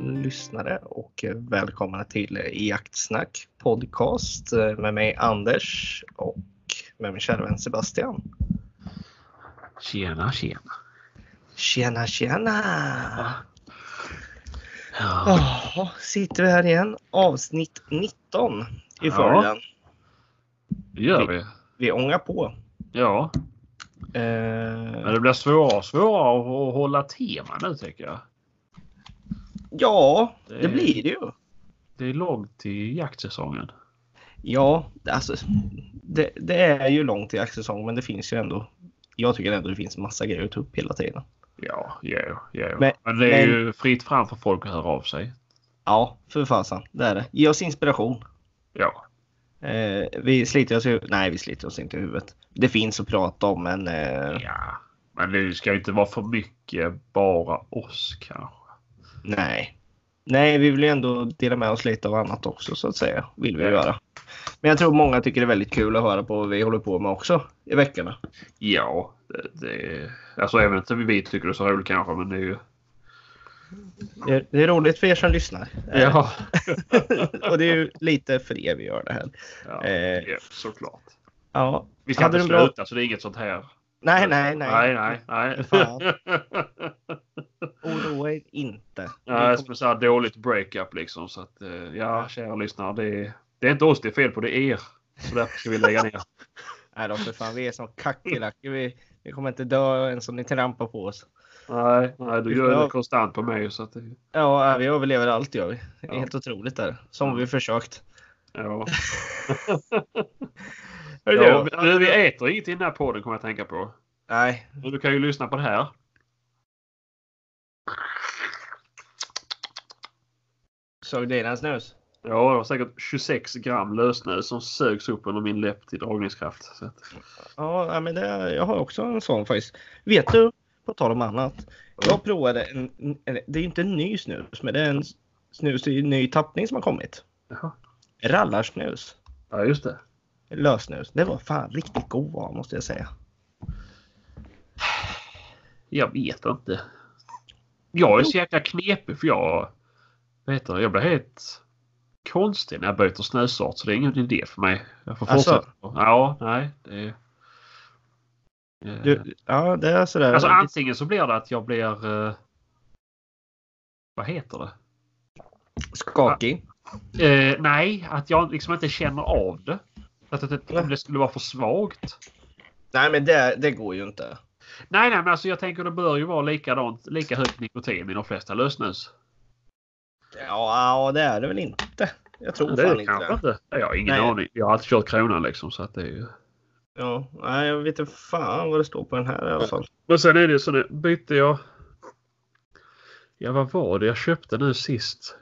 lyssnare och välkomna till Jaktsnack podcast med mig Anders och med min kära vän Sebastian. Tjena, tjena. Tjena, tjena! Ja, Jaha, sitter vi här igen. Avsnitt 19 i följden. det gör vi. Vi ångar på. Ja, men Eh, det blir svårare och svårare att- att hålla tema nu tycker jag. ja, det blir det ju. Det är långt till jaktsäsongen. Ja, alltså, det, det är ju långt till jaktsäsong men det finns ju ändå. Jag tycker ändå det finns massa grejer att ta upp hela tiden. Ja, ja, ja. Men- Men, det är men- ju fritt fram för folk att höra av sig. Ja, för fasen. Det är det. Ge oss inspiration. Ja, Eh, vi sliter oss i huvudet. Nej, vi sliter oss inte i huvudet. Det finns att prata om, men eh, ja. Men det ska ju inte vara för mycket bara oss kanske. nej. Nej, vi vill ju ändå dela med oss lite av annat också så att säga. Vill vi Ja. göra. Men jag tror många tycker det är väldigt kul att höra på vad vi håller på med också i veckorna. Ja, det, det, alltså även inte vi tycker det är så roligt kanske, men det är ju... Det är, det är roligt för er som lyssnar. Eh, Ja, och det är ju lite för er vi gör det här. ja, Eh. ja såklart. Ja. Vi ska Hade inte du en bra- sluta, så det är inget sånt här. Nej, nej, nej. Nej, nej, nej. Fan. Oroa er inte. Nej, som så här dåligt breakup liksom. Så att, eh, ja, kära lyssnare. Det är, det är inte oss det är fel på, det är er. Så därför ska vi lägga ner. Nej då för fan, vi är som kackerlackor. Vi, vi kommer inte dö ens om ni trampar på oss. Nej, nej du gör det konstant på mig. Så att, det- Ja, äh, vi överlever allt gör vi. Det är Ja. helt otroligt där. Som vi försökt. ja. Ja. ja. Nu, vi äter inget i den här podden kommer jag att tänka på. Nej, Men Du kan ju lyssna på det här. såg du innan snus? Ja, det var säkert 26 gram lösnöre som sögs upp under min läpp till dragningskraft. Så att, Ja, nej, men det, jag har också en sån faktiskt. Vet du, på tal om annat. Jag provade en, en det är ju inte en ny snus, men det är en snus i ny tappning som har kommit. jaha. Rallarsnus. Ja, just det. Lössnus. Det var fan riktigt god va, måste jag säga. Jag vet inte. Jag är så jäkla knepig för jag... Vad heter det? Jag blir helt konstig när jag byter snösort så det är ingen idé för mig. Jag får Alltså? fortsätta. Ja, nej. Det... Eh, Du, ja, det är sådär. Alltså antingen så blir det att jag blir... eh, Vad heter det? skakig. Eh, nej, att jag liksom inte känner av det. Att, att, att om det skulle vara för svagt. Nej, men det, det går ju inte. Nej, nej, men alltså jag tänker det bör ju vara likadant, lika högt nikotin i de flesta lösnus. Ja, det är det väl inte. Jag tror Det fan är inte kanske det. inte. Jag har ingen Nej. aning. Jag har alltid kört kronan liksom så att det är ju. Ja, nej, jag vet inte fan vad det står på den här i alla fall. Men sen är det ju så nu bytte jag. Ja vad var det jag köpte nu sist?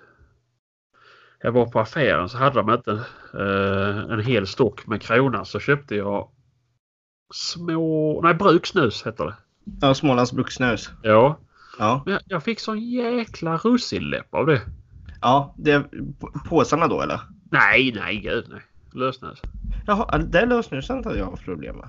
Jag var på affären så hade de inte eh, en hel stock med kronan så köpte jag små, nej bruksnus heter det. Ja, Smålands brukssnus. Ja, Ja, men jag, jag fick sån jäkla russinläpp av det. ja det är p- påsarna då eller? Nej, nej, gud nej. Lösnus. Jaha, det lössnuset hade jag haft problem med.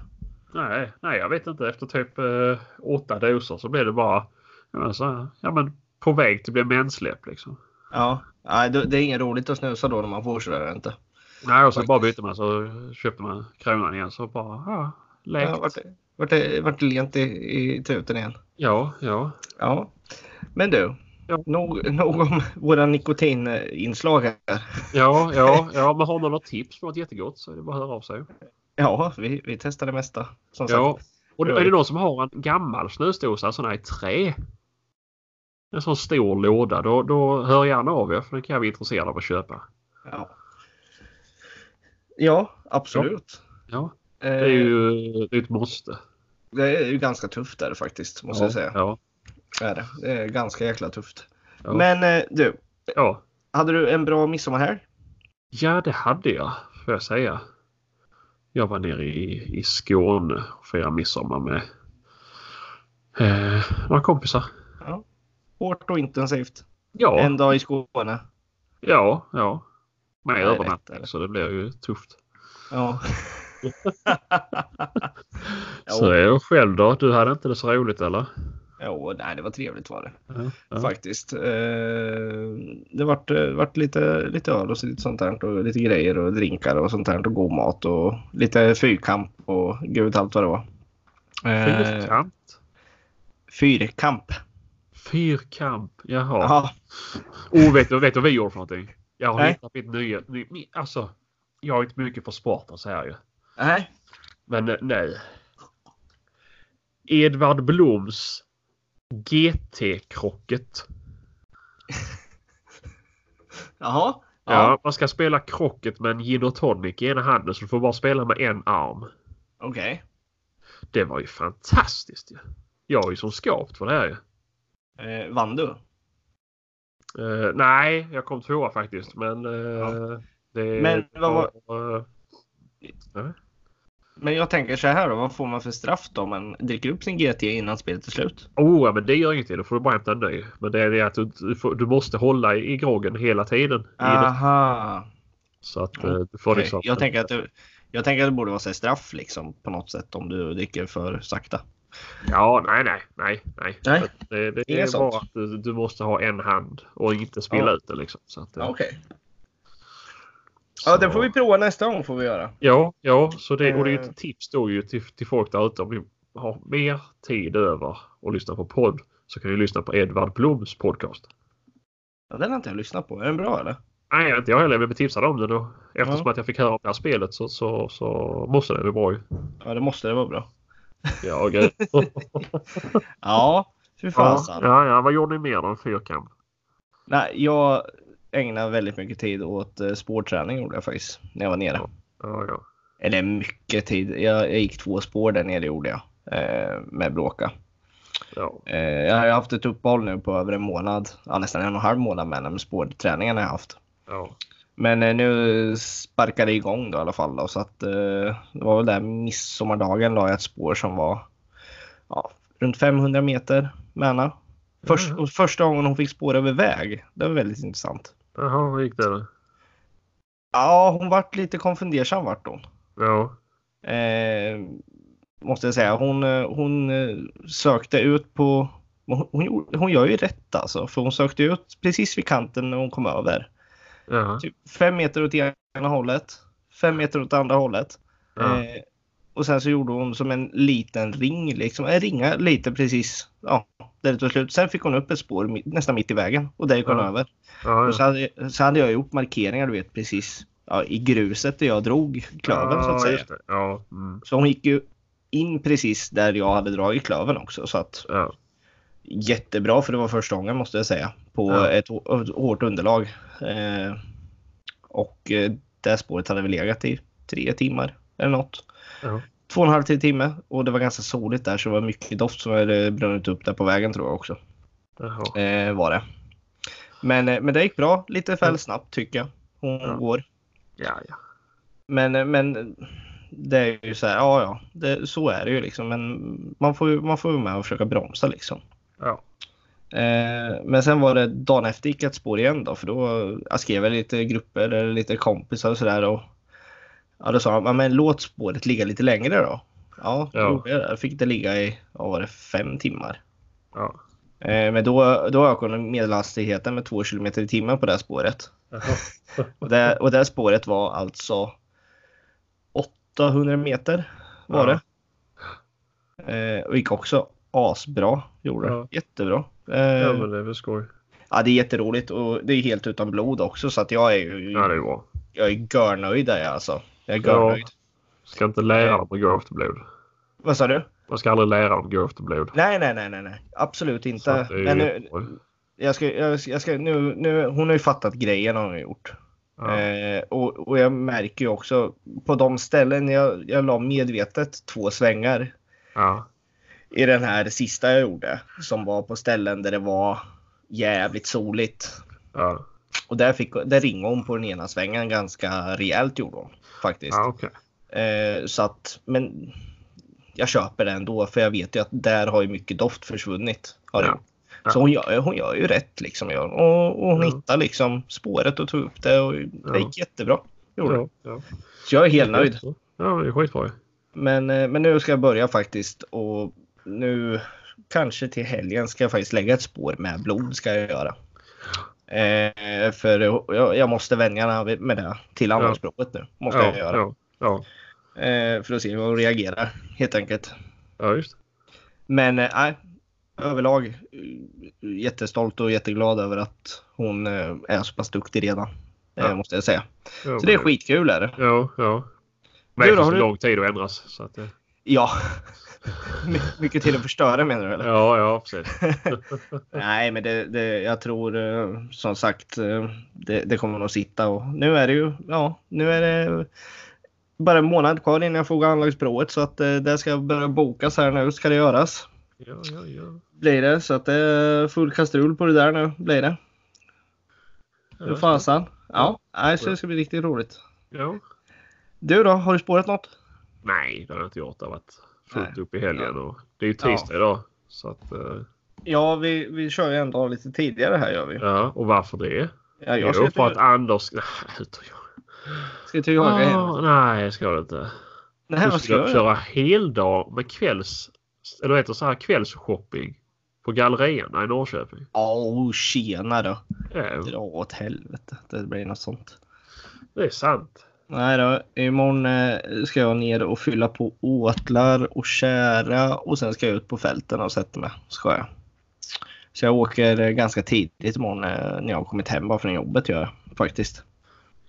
Nej, nej, jag vet inte. Efter typ eh, åtta doser så blev det bara ja, men så här, ja, men på väg till att bli mensläpp. Liksom. Ja, nej, det, det är inget roligt att snusa då när man får sådär inte. Nej, och så bara bytte man så köpte man kronan igen så bara ja, läkt. Ja, vart, vart, det- vart det lent i, i truten igen. Ja, ja. Ja, men du. Ja. Nog, nog om våra nikotininslag här. Ja, ja, ja. Men har någon något tips på något jättegott så är det bara att höra av sig. Ja, vi, vi testar det mesta. Som sagt. Ja. Och då är det någon som har en gammal snusdosa, en sån här i trä. En sån stor låda. Då, då hör gärna av er för den kan jag vara intresserad av att köpa. Ja, ja absolut. Ja, Eh, det är ju det är ett måste. ganska tufft där faktiskt, måste ja, jag säga. Ja, Det är det. det är ganska jäkla tufft. Ja. Men eh, du, ja. hade du en bra midsommar här? Ja, det hade jag, får jag säga. Jag var nere i, i Skåne och firade midsommar med eh, några kompisar. Hårt och intensivt. Ja, En dag i Skåne. ja, ja. Med Nej, övernattning lättare. så det blir ju tufft. Ja. Så är jag själv då? Du hade inte det så roligt eller? Jo, nej, det var trevligt var det Ja, ja. faktiskt. Eh, det vart, eh, vart lite, lite öl och så lite sånt där och lite grejer och drinkar och sånt där och god mat och lite fyrkamp och gud vet allt vad det var. Eh, Fyrkant. fyrkamp. Fyrkamp. Jaha. Ja, Oh, vet du, vet du vad vi gjorde för någonting? Jag har Nej. hittat mitt nya... Ny, mi- alltså, jag är inte mycket för sport så här ju. nej. Men eh, nej. Edvard Bloms GT-krocket. Jaha. Ja. man ska spela krocket med en gin och tonic i ena handen så du får bara spela med en arm. Okej. Det var ju fantastiskt ju. Jag är ju som skapt för det här ju. Eh, vann du? Eh, nej, jag kom tvåa faktiskt. Men, eh, det Men vad var- Eh, Men jag tänker så här då, vad får man för straff då om man dricker upp sin GT innan spelet är slut? Oh, ja, men det gör ingenting. Då får du bara hämta en ny. Men det är det att du, du, får, du måste hålla i, i groggen hela tiden. I det. Aha. Så att eh, du får Ah. Okej, liksom... Jag, tänker att det, jag tänker att det borde vara så här straff liksom på något sätt om du dricker för sakta. Ja, nej, nej, nej, nej. Nej. Att Det, det Inget är bara sånt. att du, du måste ha en hand och inte spela Ja. ut det liksom. Så att, eh, Okej. så- Ja, det får vi prova nästa gång får vi göra. Ja, ja, så det, och det är ju Eh. ett tips då ju till, till folk där ute om ni har mer tid över och lyssna på podd så kan ni lyssna på Edvard Bloms podcast. Ja, den har inte jag lyssnat på. Är den bra eller? Nej, inte jag heller, men tipsade om det då. Eftersom Ja. att jag fick höra om det här spelet så, så, så måste det bli bra ju. Ja, det måste det vara bra. Ja, gud. Ja, fy ja, fasen. ja, ja, vad gjorde ni mer då än fyrkamp? Nej, jag ägnade väldigt mycket tid åt eh, spårträning gjorde jag faktiskt när jag var nere. Ja, ja. Eller mycket tid. Jag, jag gick två spår där nere gjorde jag. Eh, med bråka. ja. Eh, jag har ju haft ett uppehåll nu på över en månad. Ja, nästan en och en halv månad med den, men spårträningen har jag haft. ja. Men eh, nu sparkade det igång då i alla fall. Då, så att, eh, det var väl där midsommardagen la jag ett spår som var ja, runt 500 meter med henne. Först, Ja. och första gången hon fick spår över väg. Det var väldigt intressant. Jaha, hur gick det då? Ja, hon vart lite konfundersam vart hon. Ja, Eh, måste jag säga. Hon, eh, hon eh, sökte ut på... Hon, hon, gjorde- hon gör ju rätt alltså. För hon sökte ut precis vid kanten när hon kom över. ja, Typ fem meter åt ena hållet. Fem meter åt andra hållet. ja. Eh, och sen så gjorde hon som en liten ring. Liksom. En ringa lite precis ja, där det tog slut. Sen fick hon upp ett spår mi- nästan mitt i vägen. Och där gick hon Ja. över. ja, Och så, ja. hade, så hade jag gjort markeringar du vet precis ja, i gruset där jag drog klövern så att Ja, säga. just det. Ja, mm. Så hon gick ju in precis där jag hade dragit klövern också. Så att ja. jättebra för det var första gången måste jag säga. På Ja. ett, hå- ett hårt underlag. Eh, och eh, det spåret hade vi legat i tre timmar eller något. ja. Två och en halv till timme och det var ganska soligt där så det var mycket doft som hade brunnit upp där på vägen tror jag också. Jaha. Eh, var det. Men, eh, men det gick bra. Lite väl Ja. snabbt tycker jag. Hon Ja. går. Ja, ja. Men, eh, men det är ju så här, ja ja, det, så är det ju liksom. Men man får ju man får ju vara med och försöka bromsa liksom. Ja, Eh, men sen var det dagen efter gick jag ett spår igen då för då jag skrev jag lite grupper eller lite kompisar och sådär. och Ja, då sa han, "Ja, men låt spåret ligga lite längre då. Ja, då Ja. gjorde jag det. Jag fick det ligga i, vad var det, fem timmar. ja. Eh, men då, då ökade medelhastigheten med 2 km i timmen på det här spåret. Jaha. Och det, och det här spåret var alltså 800 meter var Ja. det. Eh, och gick också asbra. Gjorde det. Ja. Jättebra. Eh, Ja, ja, men det är väl skoj. det är jätteroligt och det är helt utan blod också så att jag är ju Ja, det är bra. jag är görnöjd där jag alltså. Jag är Ja. görnöjd. Ska inte lära dem att gå efter blod. Vad sa du? Man ska aldrig lära dem att gå efter blod. Nej, nej, nej, nej, nej. Absolut Så inte. att det är Men ju nu, bra. jag ska, jag ska, jag ska, nu, nu, hon har ju fattat grejen har hon ju gjort. Ja. Eh, och, och jag märker ju också på de ställen jag, jag la medvetet två svängar Ja. i den här sista jag gjorde som var på ställen där det var jävligt soligt. Ja. Och där, fick, där ringade hon på den ena svängen ganska rejält gjorde hon faktiskt. Ja, okej. Eh, så att, men jag köper det ändå för jag vet ju att där har ju mycket doft försvunnit. Har det Ja. gjort. Ja. Så hon gör, hon gör ju rätt liksom. gör hon. Och, och hon Ja. hittar liksom spåret och tog upp det och det Ja. gick jättebra. Gjorde det. Ja, ja. Så jag är helt nöjd. Ja, det är skitbra ju. Men, eh, men nu ska jag börja faktiskt och nu kanske till helgen ska jag faktiskt lägga ett spår med blod ska jag göra. Eh, för jag, jag måste vänja mig med det till annonsprovet nu. Måste ja, jag göra. Ja, ja. Eh, för att se hur de reagerar helt enkelt. ja just Men eh, nej, överlag eh, jättestolt och jätteglad över att hon eh, är så pass duktig redan. Ja. Eh, måste jag säga. ja, Så det är men- skitkul är det. Ja, ja. Men Du det då, tar så har du- lång tid att ändras. Så att, eh, Ja. My- Mycket till att förstöra menar du eller? ja, ja, precis. Nej, men det, det, jag tror eh, som sagt eh, det, det kommer nog sitta. Och nu är det ju ja, nu är det bara en månad kvar innan jag får gå anlagsprovet så att eh, det ska börja bokas här nu. Ska det göras? Ja, ja, ja. Blir det så att det är full kastrull på det där nu blir det. Hur fasen? Ja, nej, så det ska bli riktigt roligt. Ja. Du då, har du spårat något? Nej, det har jag inte gjort. Det har varit fullt Nej. upp i helgen. Och det är ju Ja. tisdag idag. Så att, eh, Ja, vi, vi kör ju en dag lite tidigare här gör vi. ja. Och varför det? Ja, Jo, jag ska för att till, Anders... Nej, ut och jag- ska till Jaga hem. Ah, nej, det ska det inte. Nej, du vad ska ska jag göra? köra heldag med kvälls... Eller heter det så här kvällsshopping på Gallerierna i Norrköping. Åh, tjena då. Ja, Dra åt helvete. Det blir något sånt. det är sant. Nej då, imorgon eh, ska jag ner och fylla på åtlar och kära och sen ska jag ut på fälten och sätta mig. Ska jag. Så jag åker eh, ganska tidigt imorgon eh, när jag har kommit hem bara från jobbet gör jag faktiskt.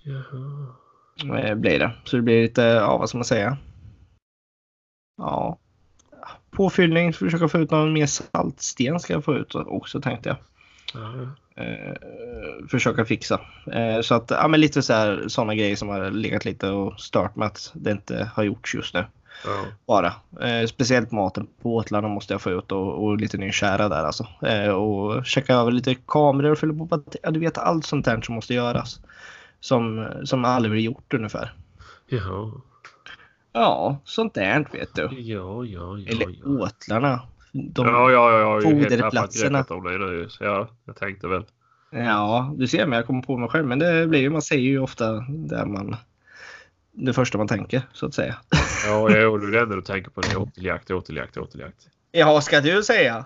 Jaha. Eh, Blir det. Så det blir lite, ja vad ska man säga? Ja. Påfyllning, försöka få ut någon mer saltsten ska jag få ut också tänkte jag. Ja, eh, försöka fixa. Eh, så att, ja men lite så här, sådana grejer som har legat lite och stört med att det inte har gjorts just nu. ja. Bara. Eh, speciellt maten på Åtlarna måste jag få ut och, och lite ny kära där alltså. Eh, och checka över lite kameror och fylla på batteri. Ja, du vet allt sånt där som måste göras. Som, som aldrig blir gjort ungefär. Ja, Ja, sånt där vet du. ja, ja. ja, Eller ja. Åtlarna. De, ja, ja, ja, jag har ju helt tappat foderplatserna. greppet om det nu. Så jag, jag tänkte väl. Ja, du ser mig. Jag kommer på mig själv. Men det blir ju, man säger ju ofta där man, det första man tänker, så att säga. Ja, jo, det är det enda du tänker på. Det är åteljakt, åteljakt, åteljakt. Ja, ska du säga?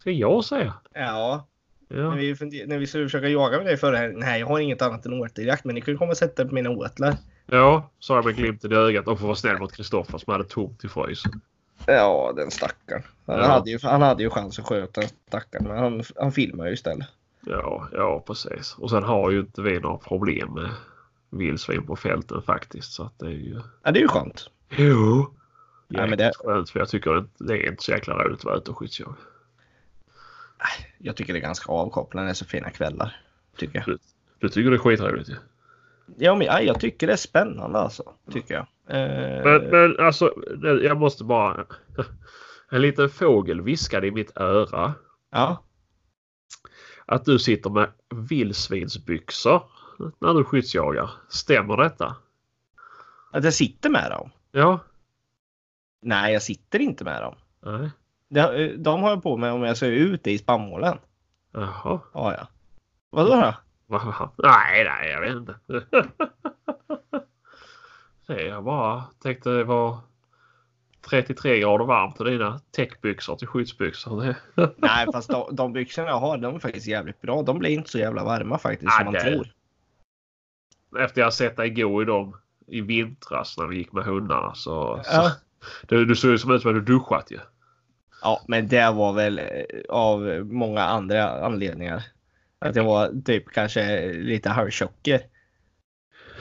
Ska jag säga? Ja, när Ja, vi, funder- när vi skulle försöka jaga med dig förra helgen. Nej, jag har inget annat än åteljakt, men ni kan ju komma och sätta er på mina åtlar. ja sa jag med glimten i ögat. Och för att vara snäll mot Kristoffer som hade tomt i frysen. Ja, den stackaren. Han, Ja. hade, ju, han hade ju chans att skjuta den stackaren, men han, han filmar ju istället. Ja, ja, precis. Och sen har ju inte vi några problem med vildsvin på fälten faktiskt. Så att det är ju... Ja, det är ju skönt. Jo! Ja, men Jäkligt det- skönt för jag tycker inte- det är inte så jäkla roligt att vara ute och skyddsjaga. Jag tycker det är ganska avkopplande. Det är så fina kvällar. Tycker jag. Du tycker det är skitroligt Eh. ju. Ja, men, ja, jag tycker det är spännande alltså. Tycker jag. Eh, Men, men alltså, det- jag måste bara... En liten fågel viskade i mitt öra Ja. att du sitter med vildsvinsbyxor när du skyddsjagar. Stämmer detta? Att jag sitter med dem. Ja. Nej, jag sitter inte med dem. Nej. De, de har jag på mig om jag ser ut i spannmålen. Jaha. Har jag. Vadå då? Va- va- Nej, nej, jag vet inte. Nej, jag bara tänkte det var 33 grader varmt och dina täckbyxor till skyddsbyxor. Det... Nej, fast de, de byxorna jag har, de är faktiskt jävligt bra. De blir inte så jävla varma faktiskt Ah, som man det- tror. Efter jag sett dig gå i dem i vintras när vi gick med hundarna så... Ja. så du, du såg ju som ut som att du duschat ju. Ja, men det var väl eh, av många andra anledningar. Att jag var typ kanske lite halvtjocker.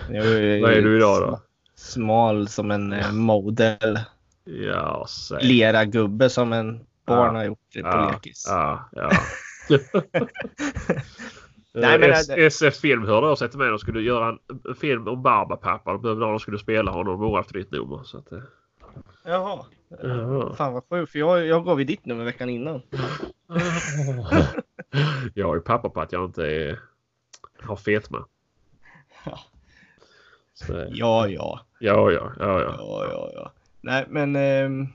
Jag var ju Vad är du idag då? sma- Smal som en eh, model. Ja, säg. Lera gubbe som en barn Ja. har gjort på Ja, lekis. Ja, ja. Nej, men- Eh, alltså- S- SF Film hörde av sig till mig. De skulle göra en film om Barbapapa. De behövde någon som skulle spela honom. De ringde efter ditt nummer. Så att, eh, Jaha. ja. Fan vad sjukt, för jag, jag gav ju ditt nummer veckan innan. jag är pappa på att jag inte är, har fetma. Ja. Så, eh, Ja, ja. ja, ja, ja, ja. ja, ja, ja. Nej, men, ehm,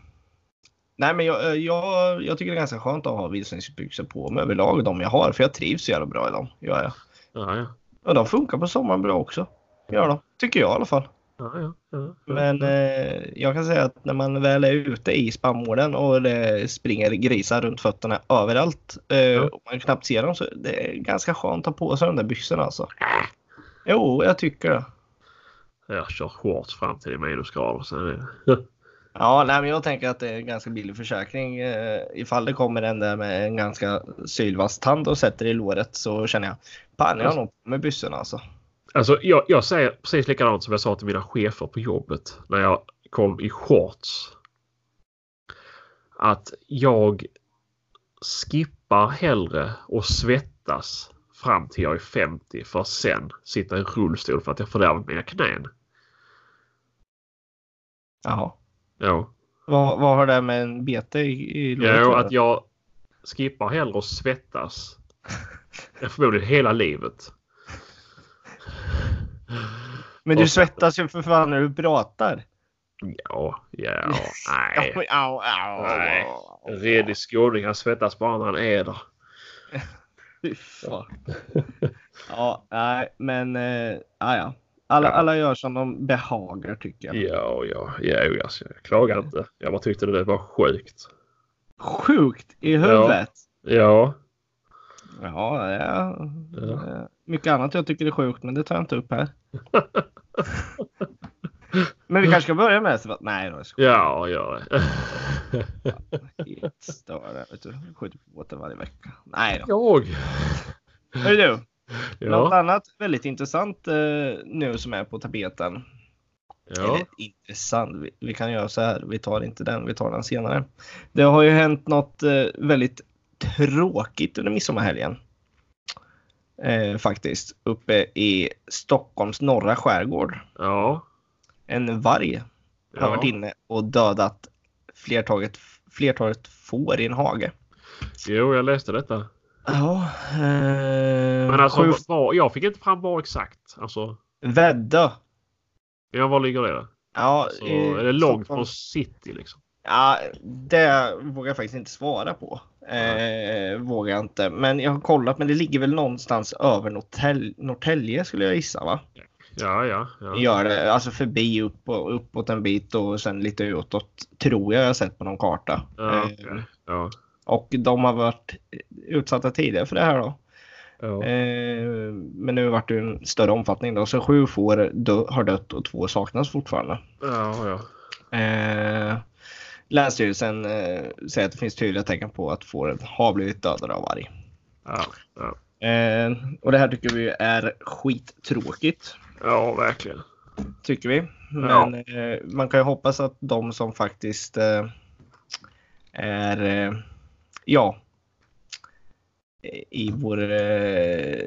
nej, men jag, eh, jag, jag tycker det är ganska skönt att ha vildsvinsbyxor på mig överlag, de jag har. För jag trivs så jävla bra i dem. Gör jag. ja, ja. Och de funkar på sommaren bra också. Gör de. Tycker jag i alla fall. Ja, ja, ja. Men eh, jag kan säga att när man väl är ute i spannmålen och det springer grisar runt fötterna överallt eh, och man knappt ser dem så det är ganska skönt att ha på sig de där byxorna alltså. Jo, jag tycker det. Jag kör shorts fram till minusgrader. Så det... Ja, nej, men jag tänker att det är en ganska billig försäkring. Eh, ifall det kommer en där med en ganska sylvass tand och sätter i låret så känner jag fan jag har nog på med byxorna alltså. Alltså, jag, jag säger precis likadant som jag sa till mina chefer på jobbet när jag kom i shorts. Att jag skippar hellre och svettas fram till jag är 50 för att sen sitta i rullstol för att jag fördärvat mina knän. Jaha. Ja. Vad, vad har det med en bete i, i låret? Jo, att att jag skippar hellre att svettas. Förmodligen hela livet. Men du svettas ju för fan när du pratar. Ja, ja, Ja, nej. men Au, au, Nej. au, au. En redig skåning han svettas bara när han äter. Fy fan. Ja, nej, men eh, ja, ja. Alla, alla gör som de behagar tycker jag. Ja, ja, ja, jo, alltså, jag klagar inte. Jag bara tyckte det där var sjukt. Sjukt i huvudet. Ja, Ja, det är, Ja. det är mycket annat jag tycker är sjukt, men det tar jag inte upp här. men vi kanske ska börja med så- Nej, då ska ja, gör det. jag störa. det, Vet du, skjuter på båten varje vecka. Nej då. Jag? Hörru du, något Ja, annat väldigt intressant eh, nu som är på tapeten. ja. Eller intressant. Vi, vi kan göra så här. Vi tar inte den. Vi tar den senare. Det har ju hänt något eh, väldigt tråkigt under midsommarhelgen. Eh, faktiskt. Uppe i Stockholms norra skärgård. ja. En varg har varit ja. inne och dödat flertalet, flertalet får i en hage. Jo, jag läste detta. Ja. Eh, Men alltså, sju- var, jag fick inte fram var exakt. Alltså, Väddö. ja, var ligger det? då? Ja, Alltså, i är det långt Stockholm. från city liksom? Ja, det vågar jag faktiskt inte svara på. Eh, vågar jag inte. Men jag har kollat, men det ligger väl någonstans över Norrtäl- Norrtälje skulle jag gissa va? Ja, ja, ja. Gör det, alltså förbi upp och, uppåt en bit och sen lite utåt tror jag jag har sett på någon karta. Ja, Eh, okej. ja, och de har varit utsatta tidigare för det här då. ja. Eh, men nu vart det ju en större omfattning då. Så sju får dö- har dött och två saknas fortfarande. ja, ja. Eh, Länsstyrelsen eh, säger att det finns tydliga tecken på att får har blivit dödade av varg. ja, ja. Eh, och det här tycker vi är skittråkigt. ja verkligen. Tycker vi. Men eh, man kan ju hoppas att de som faktiskt eh, är, eh, ja, i vår eh,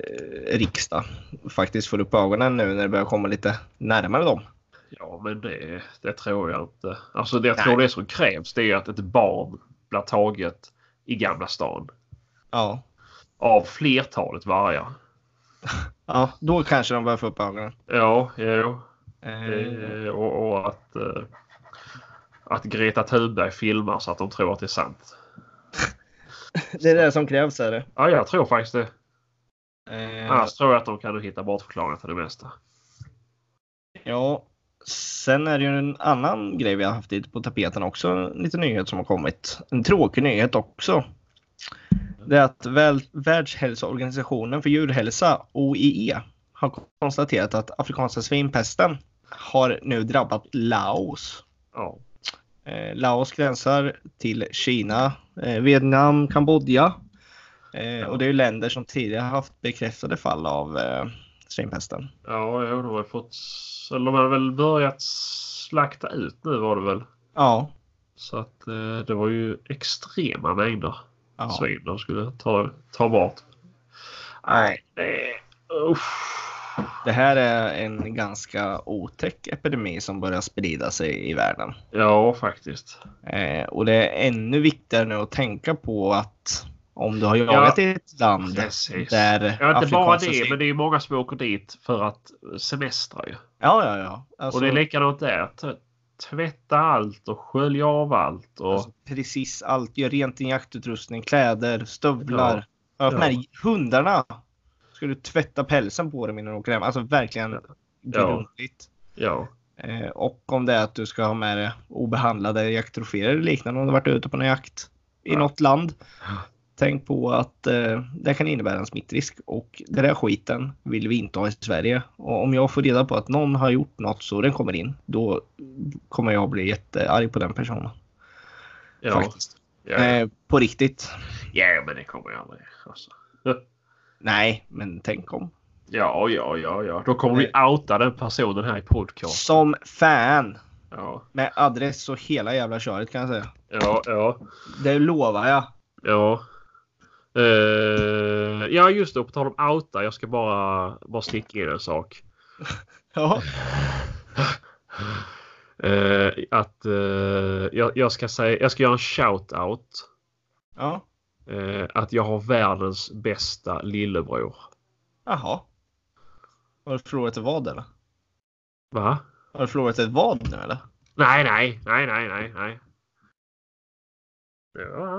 riksdag faktiskt får upp ögonen nu när det börjar komma lite närmare dem. Ja, men det, det tror jag inte. Alltså det jag Nej. tror det som krävs det är att ett barn blir taget i Gamla stan Ja, av flertalet vargar. ja då kanske de börjar få upp ögonen. Ja, jo. Eh, Eh, Och, och att, eh, att Greta Thunberg filmar så att de tror att det är sant. det är det som krävs. Är det. Ja, jag tror faktiskt det. Eh, Annars tror jag att de kan hitta bortförklaringar till det mesta. Ja, sen är det ju en annan grej vi har haft lite på tapeten också. En liten nyhet som har kommit. En tråkig nyhet också. Det är att väl, Världshälsoorganisationen för djurhälsa, OIE, har konstaterat att afrikanska svinpesten har nu drabbat Laos. Ja, Eh, Laos gränsar till Kina, eh, Vietnam, Kambodja. Eh, och det är ju länder som tidigare haft bekräftade fall av eh, svinpesten. ja jo, de har ju fått... Eller de har väl börjat slakta ut nu var det väl. Ja. Så att eh, det var ju extrema mängder. ja. svin de skulle ta, ta bort. Nej. Det, usch. Det här är en ganska otäck epidemi som börjar sprida sig i världen. Ja, faktiskt. Eh, och det är ännu viktigare nu att tänka på att om du har jagat i ett land Precis. där Ja, inte bara afrikanska det, svin- men det är ju många som åker dit för att semestra ju. Ja, ja, ja. Alltså, och det är likadant där. T- Tvätta allt och skölja av allt. Och, alltså, precis allt. Gör rent din jaktutrustning, kläder, stövlar. Ja. Ja. Men hundarna! Ska du tvätta pälsen på dem innan du åker hem? Alltså verkligen Ja. grundligt. ja. Eh, och om det är att du ska ha med dig obehandlade jakttroféer eller liknande om du varit ute på någon jakt i Ja. något land. Ja. Tänk på att eh, det kan innebära en smittrisk och den där skiten vill vi inte ha i Sverige. Och om jag får reda på att någon har gjort något så den kommer in, då kommer jag bli jättearg på den personen. Ja, Faktiskt. ja, Eh, på riktigt. ja men det kommer jag aldrig. Alltså. Nej, men tänk om. Ja, ja, ja, ja. Då kommer vi outa den personen här i podcast. Som fan! Ja, Med adress och hela jävla köret kan jag säga. ja, ja. Det lovar jag. ja. Eh, ja, just det. På tal om outa. Jag ska bara, bara sticka in en sak. Ja. Eh, att eh, jag, jag, ska säga, jag ska göra en shout-out. ja. Eh, att jag har världens bästa lillebror. Jaha. Har du förlorat ett vad eller? Va? Har du förlorat ett vad nu eller? Nej, nej, nej, nej, nej, nej. Ja,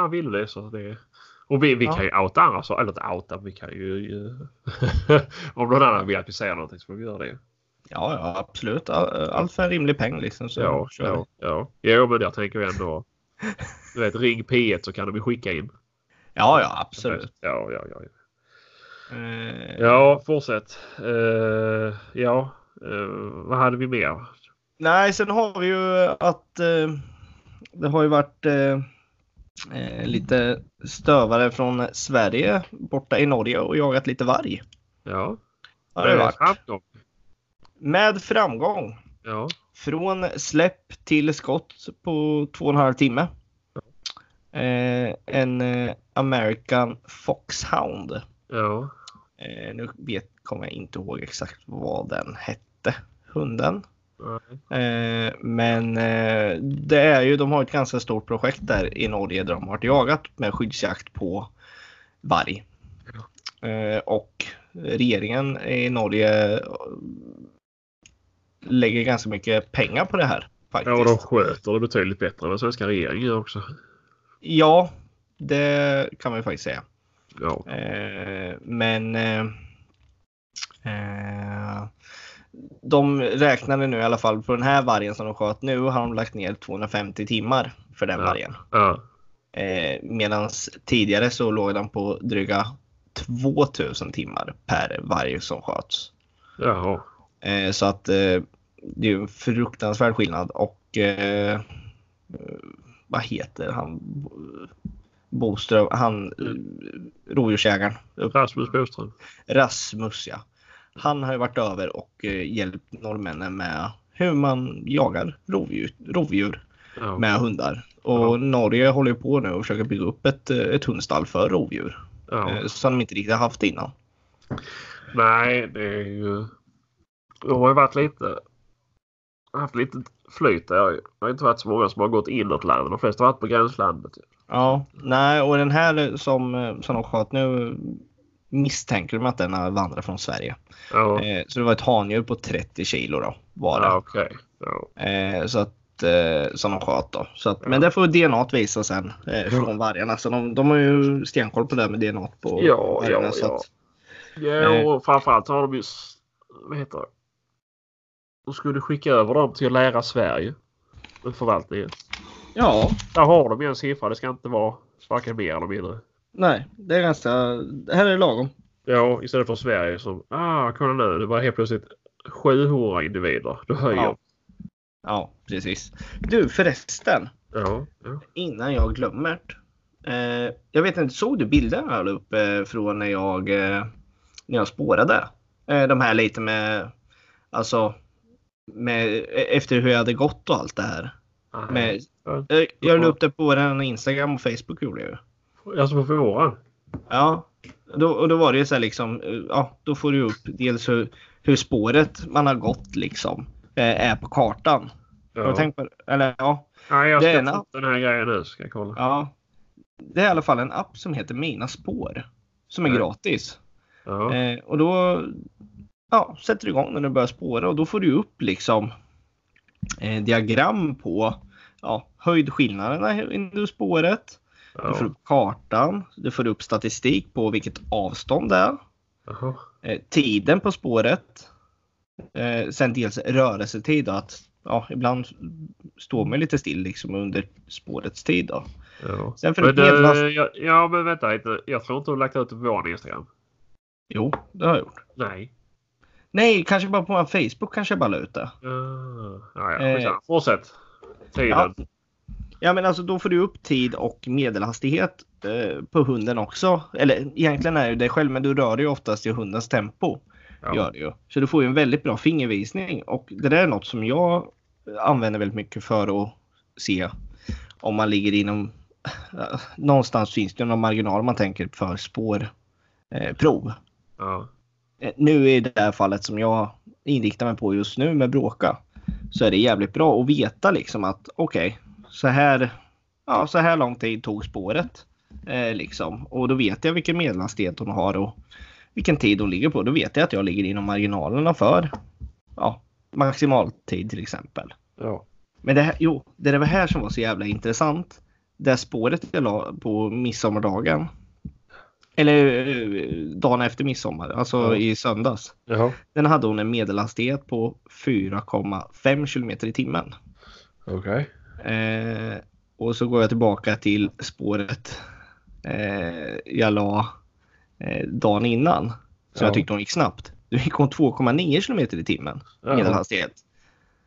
han ville det så det... Och vi, vi Ja. kan ju outa andra så eller inte outa, vi kan ju... ju- Om någon annan vill att vi säger någonting så får vi göra det. Ja, ja absolut. All- Allt för en rimlig peng liksom. Så ja, kör vi. ja, ja. Jo, men jag tänker ju ändå... Du vet, ring P1 så kan de ju skicka in. ja, ja absolut. Ja, ja, ja. Eh, Ja, fortsätt. Eh, ja, eh, vad hade vi mer? Nej, sen har vi ju att eh, det har ju varit eh, eh, lite stövare från Sverige borta i Norge och jagat lite varg. Ja, Har det varit. framgång. Med framgång. Ja, Från släpp till skott på två och en halv timme. Eh, en eh, American Foxhound. ja, Eh, nu vet, kommer jag inte ihåg exakt vad den hette, hunden. nej, Eh, men eh, det är ju, de har ett ganska stort projekt där i Norge där de har jagat med skyddsjakt på varg. Eh, och regeringen i Norge eh, lägger ganska mycket pengar på det här. ja, och de faktiskt. sköter det betydligt bättre än vad svenska regeringen gör också. Ja, det kan man ju faktiskt säga. Ja, Eh, men eh, eh, de räknade nu i alla fall på den här vargen som de sköt nu har de lagt ner 250 timmar för den Ja. vargen. ja, Eh, Medan tidigare så låg den på dryga 2000 timmar per varg som sköts. jaha. Eh, så att eh, det är ju en fruktansvärd skillnad. Och eh, eh, vad heter han? Bo- Boström, han eh, rovdjursjägaren. Rasmus Boström. Rasmus ja. Han har ju varit över och eh, hjälpt norrmännen med hur man jagar rovdjur, rovdjur Ja, med hundar. Och Norge håller ju på nu och försöker bygga upp ett, eh, ett hundstall för rovdjur. ja. eh, Som de inte riktigt har haft innan. Nej, det är ju... Jag har ju varit lite... Haft lite flyt där. Jag har inte varit så många som har gått inåt landet. De flesta har varit på gränslandet. Ja, nej och den här som, eh, som de sköt nu eh, misstänker de att den har vandrat från Sverige. Ja, Eh, så det var ett handjur på 30 kilo då var det. ja okej. Ja. Eh, så att, eh, som de sköt då. Så att, Ja. Men det får DNA visa sen eh, från vargarna. Så de, de har ju stenkoll på det här med DNA på Ja, vargarna. ja, så ja. att, Eh. Ja, och framförallt har de ju... s- Vad heter det? De skulle skicka över dem till att lära Sverige. med Förvaltningen. ja. Där har de ju en siffra. Det ska inte vara varken mer eller mindre. Nej, det är ganska... Det här är lagom. Ja, istället för Sverige som... Ah, kolla nu. Det var helt plötsligt 700 individer. Då höjer Ja. Ja, precis. Du förresten, Ja, ja. innan jag glömmer. Eh, jag vet inte, såg du bilderna här uppe eh, från när jag, eh, när jag spårade? Eh, de här lite med... Alltså... Med, efter hur jag hade gått och allt det här. Nej. Med, Ja. jag, jag la upp det på vår Instagram och Facebook gjorde jag ju. Alltså på våren? Ja. Då, och då var det ju så här liksom, eh, ja, då får du upp dels hur, hur spåret man har gått liksom eh, är på kartan. Har du Ja. tänkt på det? Eller ja, Nej, jag ska Det är en ta upp den här grejen nu. Ska jag kolla. ja. Det är i alla fall en app som heter Mina spår. Som är Ja. gratis. Ja. Eh, och då ja, sätter du igång när du börjar spåra och då får du upp liksom eh, diagram på ja, höjdskillnaderna i spåret. Du får Ja. upp kartan, du får upp statistik på vilket avstånd det är, Jaha. eh, tiden på spåret, Eh, sen dels rörelsetid då, att ja, ibland står man lite still liksom under spårets tid då. Ja. Sen för Men, ett medlast- eh, ja, ja, men vänta lite. Jag tror inte du har lagt ut det på vår Instagram. Jo, det har jag gjort. Nej. Nej, kanske bara på vår Facebook kanske jag bara la ut det. Uh, ja, ja, Eh. skitsamma. Fortsätt. Tiden. Ja, men alltså då får du upp tid och medelhastighet eh, på hunden också. Eller egentligen är det ju dig själv, men du rör dig ju oftast i hundens tempo. Ja. Gör det ju. Så du får ju en väldigt bra fingervisning och det där är något som jag använder väldigt mycket för att se om man ligger inom... Någonstans finns det ju någon marginal om man tänker för spårprov. Eh, prov. Ja. Eh, nu i det här fallet som jag inriktar mig på just nu med bråka så är det jävligt bra att veta liksom att okej, så här ja, så här lång tid tog spåret eh, liksom och då vet jag vilken medelhastighet hon har och vilken tid hon ligger på. Då vet jag att jag ligger inom marginalerna för ja, maximaltid till exempel. Ja. Men det, här, jo, det där var här som var så jävla intressant. Det här spåret jag la på midsommardagen. Eller eh, dagen efter midsommar, alltså Ja. i söndags. Jaha. Den hade hon en medelhastighet på 4,5 kilometer i timmen. Okej. Eh, och så går jag tillbaka till spåret eh, jag la eh, dagen innan. Så Ja. jag tyckte hon gick snabbt. Då gick hon 2,9 kilometer i timmen Ja. medelhastighet.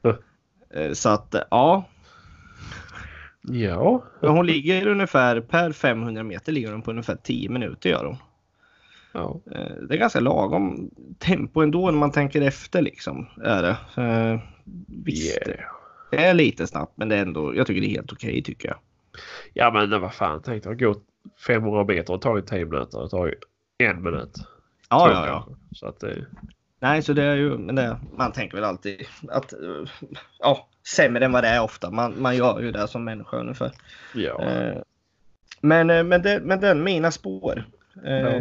Ja. Eh, så att ja, ja. Men hon ligger ungefär per 500 meter ligger hon på ungefär 10 minuter gör hon. Ja. Eh, Det är ganska lagom tempo ändå när man tänker efter liksom. Är det. Eh, Visst, Yeah. det är lite snabbt men det är ändå, jag tycker det är helt okej tycker jag. Ja men det var fan tänkte jag gå 500 meter och tar ju 10 minuter. Det tar ju en minut. Ja, Två ja, ja. kanske. Så att det... Nej, så det är ju, men det, man tänker väl alltid att, eh, ja, sämre än vad det är ofta. Man, man gör ju det som människa ungefär. Ja. Eh, Men, eh, men, det, men den, mina spår. Eh, Ja.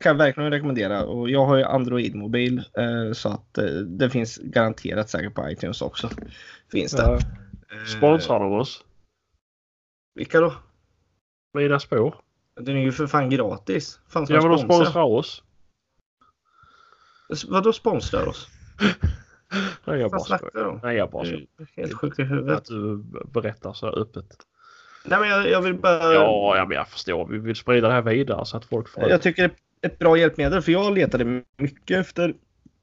Kan jag verkligen rekommendera. Och jag har ju Android-mobil eh, så att eh, det finns garanterat säkert på iTunes också. Finns det. Ja. Eh, Sponsrar de oss? Vilka då? Mina spår? Den är ju för fan gratis. Fan ska Ja men de de sponsra? sponsrar oss. S- Vadå sponsrar oss? Nej jag bara Vad skojar. snackar de? Nej jag bara skojar. Du är Helt sjukt i Att huvudet. du berättar så här öppet. Nej men jag, jag vill bara... Ja, ja men jag förstår. Vi vill sprida det här vidare så att folk får Jag tycker det är ett bra hjälpmedel för jag letade mycket efter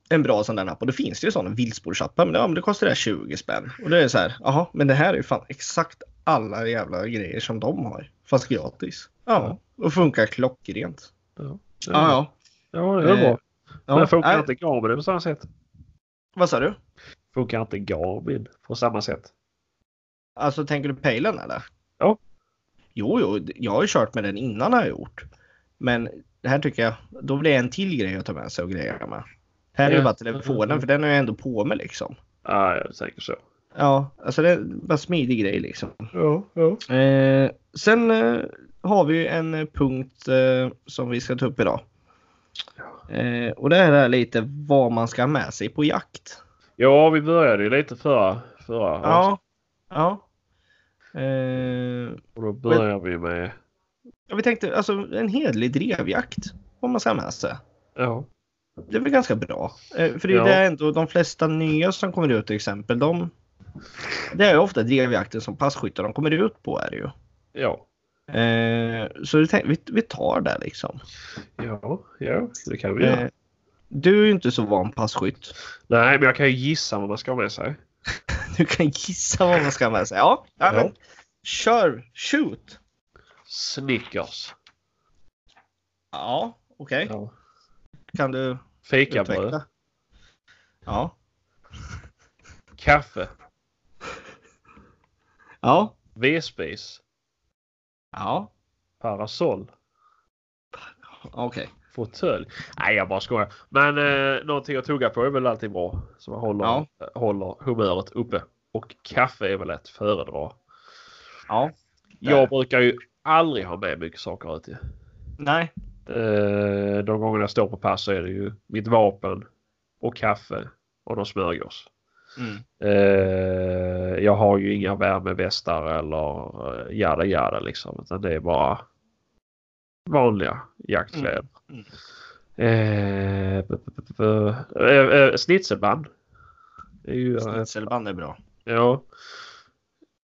en bra sån där app och det finns det ju sådana viltspårsappar men, ja, men det kostar det här 20 spänn. Och det är så här, jaha, men det här är ju fan exakt alla jävla grejer som de har. Fast gratis. Ja, och funkar klockrent. Ja, ja. Ja, ja det är bra. ja. Men funkar Nej, inte Garmin på samma sätt? vad sa du? Funkar inte Garmin på samma sätt? Alltså tänker du pejlen eller? Ja. Jo, jo, jag har ju kört med den innan har jag gjort. Men det här tycker jag, då blir det en till grej att ta med sig och greja med. Här är Ja. det bara telefonen för den är jag ändå på med liksom. Ja, jag tänker så. Ja, alltså det är bara en smidig grej liksom. Ja, ja. Eh, sen eh, har vi ju en eh, punkt eh, som vi ska ta upp idag. Eh, och det här är lite vad man ska ha med sig på jakt. Ja, vi började ju lite förra, förra avsnittet. ja. Eh, Och då börjar vi med... ja, vi tänkte alltså en hederlig drevjakt. Vad man ska ha med sig. Ja. Det är väl ganska bra. Eh, för det är Ja. ju det ändå de flesta nya som kommer ut till exempel. De, det är ju ofta drevjakten som passkyttar de kommer ut på är det ju. Ja. Eh, så vi, tänk, vi, vi tar det liksom. Ja, ja, det kan vi göra. Eh, du är ju inte så van passkytt. Nej, men jag kan ju gissa vad man ska ha med sig. Du kan gissa vad man ska ha med sig. Ja, ja, Ja. men kör, shoot. Snickers. Ja, okej. Ja. Kan du Fikabröd. utveckla? Ja. Kaffe. Ja. Vedspis. Ja, Parasoll. okej. Fåtölj? Nej, jag bara skojar. Men eh, någonting att tugga på är väl alltid bra. Så man håller, eh, Ja. håller humöret uppe. Och kaffe är väl ett föredra. Ja. Jag brukar ju aldrig ha med mycket saker ut. i. Nej. Eh, de gånger jag står på pass så är det ju mitt vapen och kaffe och någon smörgås. Mm. Eh, jag har ju inga värmevästar eller eh, jada jada liksom. Utan det är bara vanliga jaktkläder. Mm. Eh, b- b- b- b- eh, eh, Snitselband Det är ju, eh, Snitselband är bra. ja.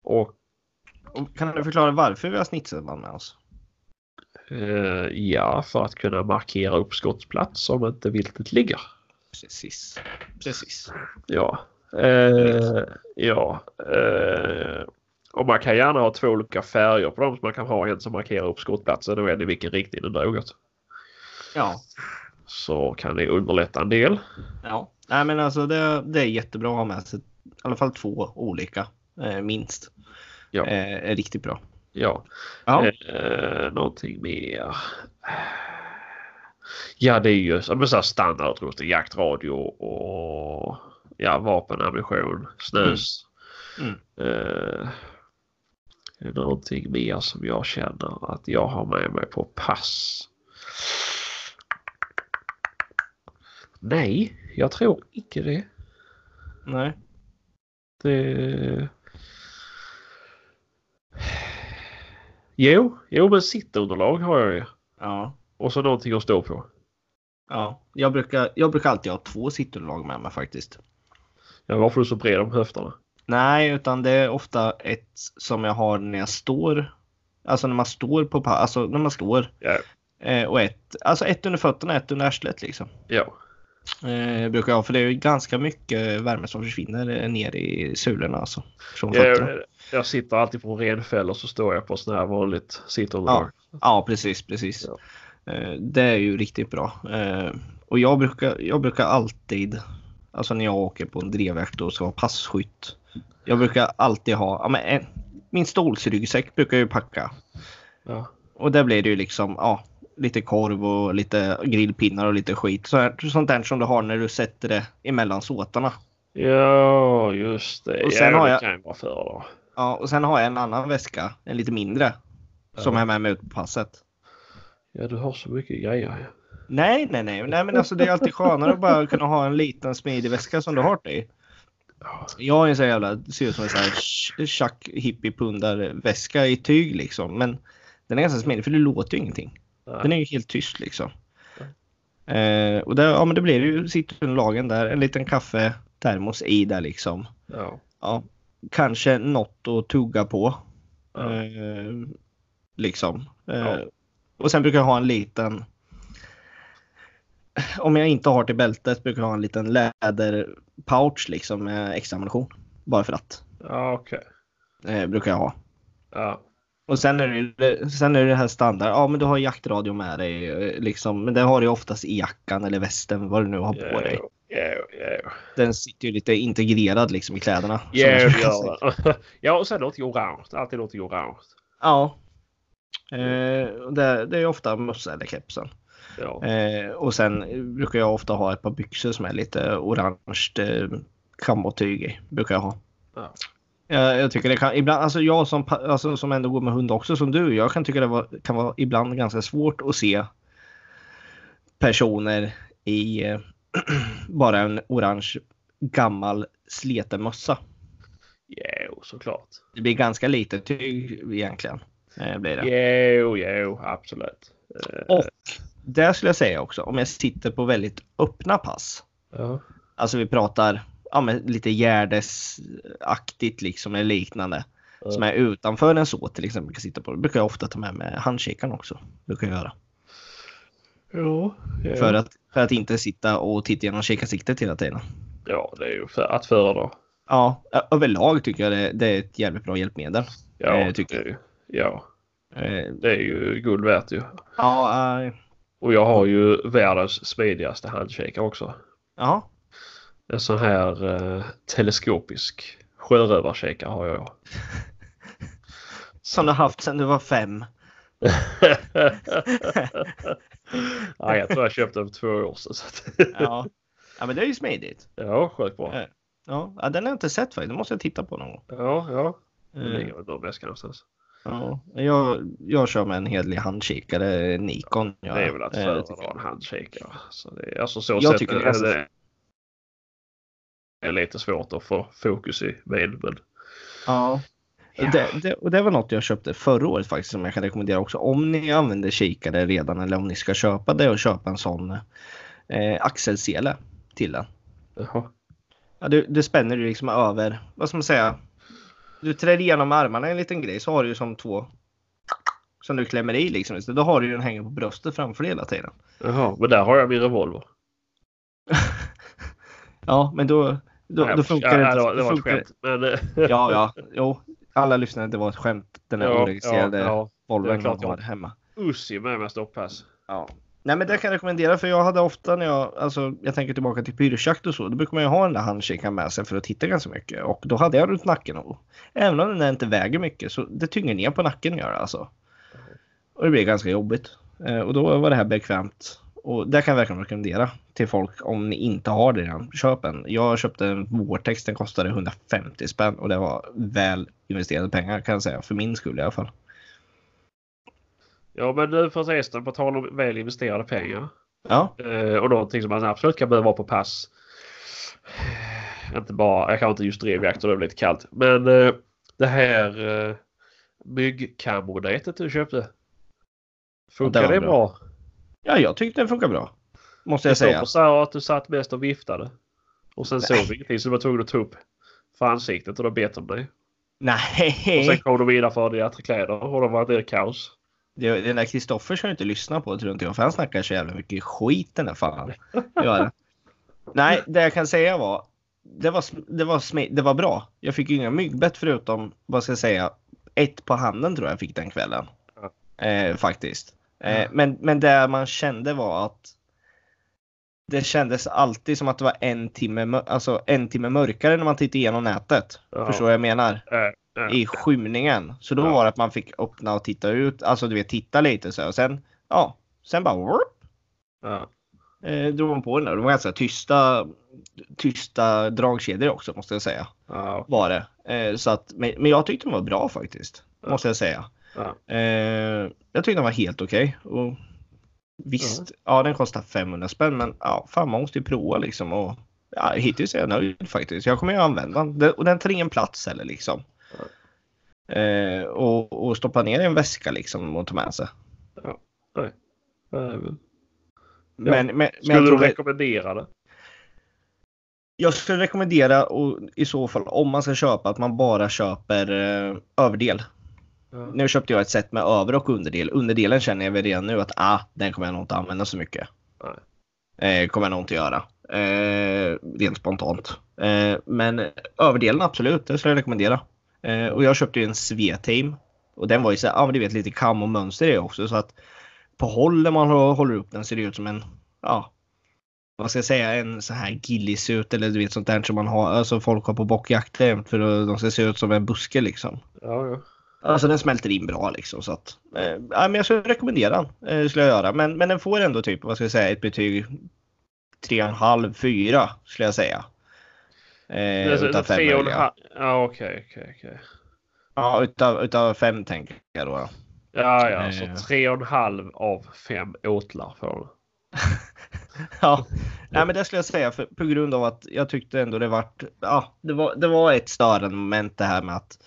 Och Och kan du förklara varför vi har snitselband med oss? eh, ja, för att kunna markera uppskottsplats om inte viltet ligger. Precis. Precis. Ja. Eh, ja. Eh, och man kan gärna ha två olika färger på dem. Så man kan ha en som markerar upp skottplatsen och en i vilken riktning den drog åt. Ja. Så kan det underlätta en del. ja. Nej, men alltså det, det är jättebra att ha med sig. I alla fall två olika eh, minst. Ja. Eh, är riktigt bra. Ja. Ja. Eh, någonting mer. Ja, det är ju så men så här standardutrustning. Jaktradio och ja, vapen, ammunition, snus. Mm. Eh, är det någonting mer som jag känner att jag har med mig på pass? Nej, jag tror icke det. Nej. Det... Jo, jo men sittunderlag har jag ju. Ja. Och så någonting att stå på. Ja. Jag brukar, jag brukar alltid ha två sittunderlag med mig faktiskt. Ja, varför är du så bred om höfterna? Nej, utan det är ofta ett som jag har när jag står. Alltså när man står på pa- alltså när man står. Ja. Eh, och ett, alltså ett under fötterna, ett under arslet liksom. Ja, Eh, brukar jag ha, för det är ju ganska mycket värme som försvinner eh, ner i sulorna alltså. Från fötterna. jag, jag sitter alltid på en renfäll och så står jag på sån här vanligt sittunderlag. Ja, ja precis, precis. Ja. Eh, Det är ju riktigt bra. Eh, Och jag brukar, jag brukar alltid, alltså när jag åker på en drevjakt och ska vara passkytt. Jag brukar alltid ha, ja, men en, min stolsryggsäck brukar jag ju packa. Ja. Och där blir det ju liksom, ja, lite korv och lite grillpinnar och lite skit. Så här, sånt där som du har när du sätter det emellan såtarna. ja, just det. Och sen ja, har det jag- kan jag vara för då. Ja, och sen har jag en annan väska, en lite mindre, som Ja. jag är med mig ut på passet. Ja, du har så mycket grejer. Nej, nej, nej. nej men alltså, det är alltid skönare att bara kunna ha en liten smidig väska som du har till. Ja. Jag är en sån jävla, det ser ut som en sån här ch- tjack hippiepundar-väska i tyg liksom. Men den är ganska smidig för det låter ju ingenting. Den är ju helt tyst liksom. Eh, och där, ja, men det blir ju sittunderlagen där, en liten kaffetermos i där liksom. Ja. Ja, kanske något att tugga på. Ja. Eh, liksom. Eh, Ja. Och sen brukar jag ha en liten om jag inte har till bältet brukar jag ha en liten läderpouch liksom med extra ammunition. Bara för att. Ja, okej. Eh, brukar jag ha. Ja. Och sen är, det, sen är det här standard. Ja men du har jaktradio med dig. eh, Liksom. Men det har du ju oftast i jackan eller västen vad du nu har på Ja, dig. ja, ja. Den sitter ju lite integrerad liksom i kläderna. som Ja, jag det brukar säga. gör den. Ja, och sen någonting orange. Alltid någonting orange. Ja. Eh, och det, det är ofta mössa eller kepsen. Ja. Eh, och sen brukar jag ofta ha ett par byxor som är lite orange eh, kammotyg i. Brukar jag ha. Ja. Jag, jag tycker det kan ibland, alltså jag som, pa- alltså som ändå går med hund också som du, jag kan tycka det var, kan vara ibland ganska svårt att se personer i eh, bara en orange gammal sleten mössa. Jo, såklart. Det blir ganska lite tyg egentligen. Eh, blir det. Jo, jo, absolut. Eh, Och där skulle jag säga också, om jag sitter på väldigt öppna pass, Ja. alltså vi pratar ja, men lite gärdesaktigt liksom eller liknande, som är utanför en så till exempel kan sitta på, då brukar jag ofta ta med mig handkikaren också. Brukar jag göra. Ja, ja. För, att, för att inte sitta och titta genom kikarsiktet hela tiden. ja, det är ju för att föredra. Ja, ö- överlag tycker jag det, det är ett jävligt bra hjälpmedel. Ja, Eh, tycker det är ju- ja, Eh, det är ju guld värt ju. Ja, eh, Och jag har ju världens smidigaste handkikare också. ja, En sån här eh, teleskopisk sjörövarkikare har jag. som du har haft sedan du var fem. Nej, jag tror jag köpte den för två år sedan. Så att, Ja, ja men det är ju smidigt. ja, sjukt bra. Ja, ja, den har jag inte sett faktiskt, den måste jag titta på någon gång. Ja, ja. Den Eh, ligger i någon väska någonstans. Ja, jag, jag kör med en hederlig handkikare, Nikon. Ja, det är väl att eh, föredra tycker jag. en handkikare. Så det är, alltså så Jag sätt tycker det är är det, ganska- är lite svårt att få fokus i min. Men, Ja. Det, det, och det var något jag köpte förra året faktiskt som jag kan rekommendera också. Om ni använder kikare redan eller om ni ska köpa det och köpa en sån eh, axelsele till den. jaha. Ja, du, du spänner ju liksom över, vad ska man säga? Du trär igenom armarna i en liten grej så har du ju som två som du klämmer i liksom. Så då har du ju den hängande på bröstet framför dig hela tiden. Jaha, men där har jag min revolver. Ja, men då, då, Nej, då funkar ja, det Det var, det då var ett funkar det- skämt. Men, eh, Ja, ja. Jo, alla lyssnare, det var ett skämt. Den eh. här ja, oregistrerade ja, ja, det är klart man har jag- hemma. Ussi med mig stoppass. Ja. Nej men det kan jag rekommendera för jag hade ofta när jag, alltså jag tänker tillbaka till pyrschjakt och så, då brukar man ju ha den där handkikaren med sig för att titta ganska mycket och då hade jag runt nacken och även om den där inte väger mycket så det tynger ner på nacken gör det alltså. Och det blir ganska jobbigt. Eh, och då var det här bekvämt och det kan jag verkligen rekommendera till folk om ni inte har det redan. Köp en. Jag köpte en Vortex, den kostade 150 spänn och det var väl investerade pengar kan jag säga, för min skull i alla fall. Ja men nu förresten på tal om väl investerade pengar. Ja, Eh, och någonting som man absolut kan behöva ha på pass. Eh, Inte bara, jag kan inte just drevjakter, det blir lite kallt. Men eh, det här eh, myggkammodätet du köpte. Funkar Ja, det det, var bra. bra? ja jag tyckte den funkar bra. Måste Det jag säga. står på så här att du satt mest och viftade. Och sen Nej. såg du ingenting så du var tvungen att ta upp för ansiktet och då bet de dig. Och sen Nej, kom de innanför dina kläder och då var det kaos. det, den där Kristoffer ska jag inte lyssna på tror inte jag, för han snackar så jävla mycket skit den där fan. Gör det. Nej, det jag kan säga var, det var, sm- det var, smi- det var bra. Jag fick ju inga myggbett förutom, vad ska jag säga, ett på handen tror jag jag fick den kvällen. Eh, faktiskt. Eh, men, men det man kände var att det kändes alltid som att det var en timme, mö- alltså en timme mörkare när man tittade igenom nätet. Ja. Förstår vad jag menar? Eh, i skymningen. Så då Ja. var det att man fick öppna och titta ut, alltså du vet titta lite så här. och sen, ja, sen bara whoop, ja. eh, drog man på den där. Det var ganska tysta, tysta dragkedjor också måste jag säga. Ja. Var det. Eh, så att, men, men jag tyckte den var bra faktiskt, måste jag säga. Ja. Eh, jag tyckte den var helt okej. Och Visst, ja. den kostar 500 spänn men ja, fan man måste ju prova liksom. Och, ja, hittills är jag nöjd faktiskt. Jag kommer ju använda den. den och den tar ingen plats heller liksom. Eh, och, och stoppa ner i en väska liksom och ta med sig. Eh, Men, men, men Skulle jag, du tror det, rekommendera det? jag skulle rekommendera och, i så fall om man ska köpa att man bara köper eh, överdel. Nu köpte jag ett set med över och underdel. Underdelen känner jag väl redan nu att ah, den kommer jag nog inte använda så mycket. Eh, kommer jag nog inte göra. Eh, rent spontant. Eh, men överdelen absolut, det skulle jag rekommendera. Eh, och jag köpte ju en Svetame. Och den var ju så här, ah, men du vet lite kam och mönster i det också. Så att på håll när man hå- håller upp den ser det ut som en, ja. Vad ska jag säga, en sån här gillisut eller du vet sånt där som man har, alltså folk har på bockjakter jämt för att de ska se ut som en buske liksom. Ja, ja. Alltså den smälter in bra liksom. Så att, eh, ja, men jag skulle rekommendera den. Eh, skulle jag göra. Men, men den får ändå typ, vad ska jag säga, ett betyg 3,5-4 skulle jag säga. Eh, Alltså, utav fem tre och en möjliga. halv- Ja, okej, okej, okej. Ja, utav, utav fem tänker jag då. Ja, ja, Eh. så tre och en halv av fem åtlar får du. Ja, nej, men det skulle jag säga för, på grund av att jag tyckte ändå det vart, ja, det var, det var ett störande moment det här med att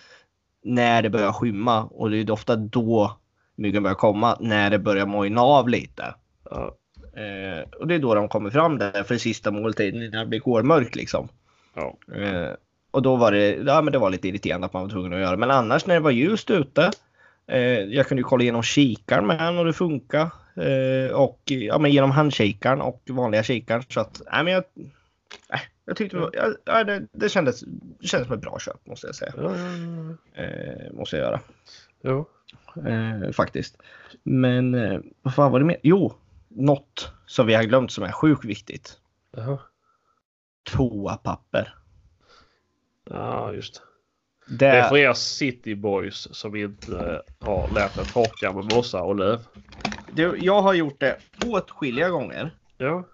när det börjar skymma och det är ju ofta då myggen börjar komma, när det börjar mojna av lite. Ja, Eh, och det är då de kommer fram där för sista måltiden innan det blir kolmörkt liksom. ja. Eh, och då var det, ja, men det var lite irriterande att man var tvungen att göra. Men annars när det var ljust ute. Eh, jag kunde ju kolla igenom kikaren med den och det funkar. Eh, och ja, men genom handkikaren och vanliga kikaren. Så att, nej men jag, nej, jag tyckte det, var, ja, ja, det, det, kändes, det kändes som ett bra köp måste jag säga. ja, ja, Eh, måste jag göra ja. eh, faktiskt. Men eh, vad fan var det mer? Jo, något som vi har glömt som är sjukt viktigt. Ja, Toapapper. ja, just det. Det, Det är för er cityboys som inte eh, har lärt er torka med mossa och löv. du, jag har gjort det åtskilliga gånger. Ja,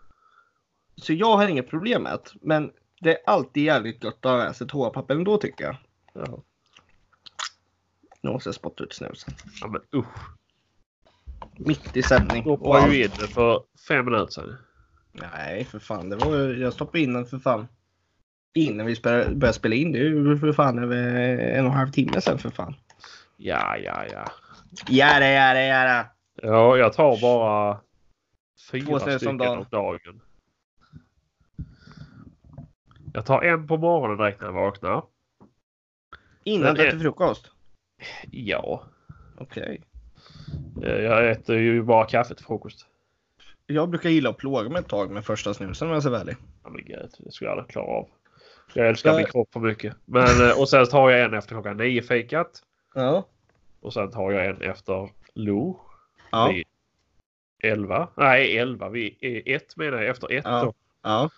Så jag har inget problem med det. Men det är alltid jävligt gött att ha med sig toapapper ändå tycker jag. ja. Nu måste jag spotta ut snusen. ja men usch. Mitt i sändning. Och Droppade allt. ju in det för fem minuter sedan. Nej för fan, det var, ju- jag stoppade in den för fan. Innan vi spelade- började spela in. Det är ju för fan över en och en halv timme sedan för fan. Ja, ja, ja. Jära, jära, jära. Ja, jag tar bara Två fyra snus om stycken dagen. om dagen. Jag tar en på morgonen direkt när jag vaknar. Innan du det- äter frukost? Ja, Okej. eh, jag äter ju bara kaffe till frukost. Jag brukar gilla att plåga mig ett tag med första snusen om jag ska vara ärlig. Ja, men gud, det skulle jag aldrig klara av. Jag älskar min Nej. kropp för mycket. Men, eh, och sen tar jag en efter klockan nio fikat. Ja. Och sen tar jag en efter lunch. Ja. Vid elva. Nej, elva. Vid eh, ett menar jag. Efter ett Ja. då. ja.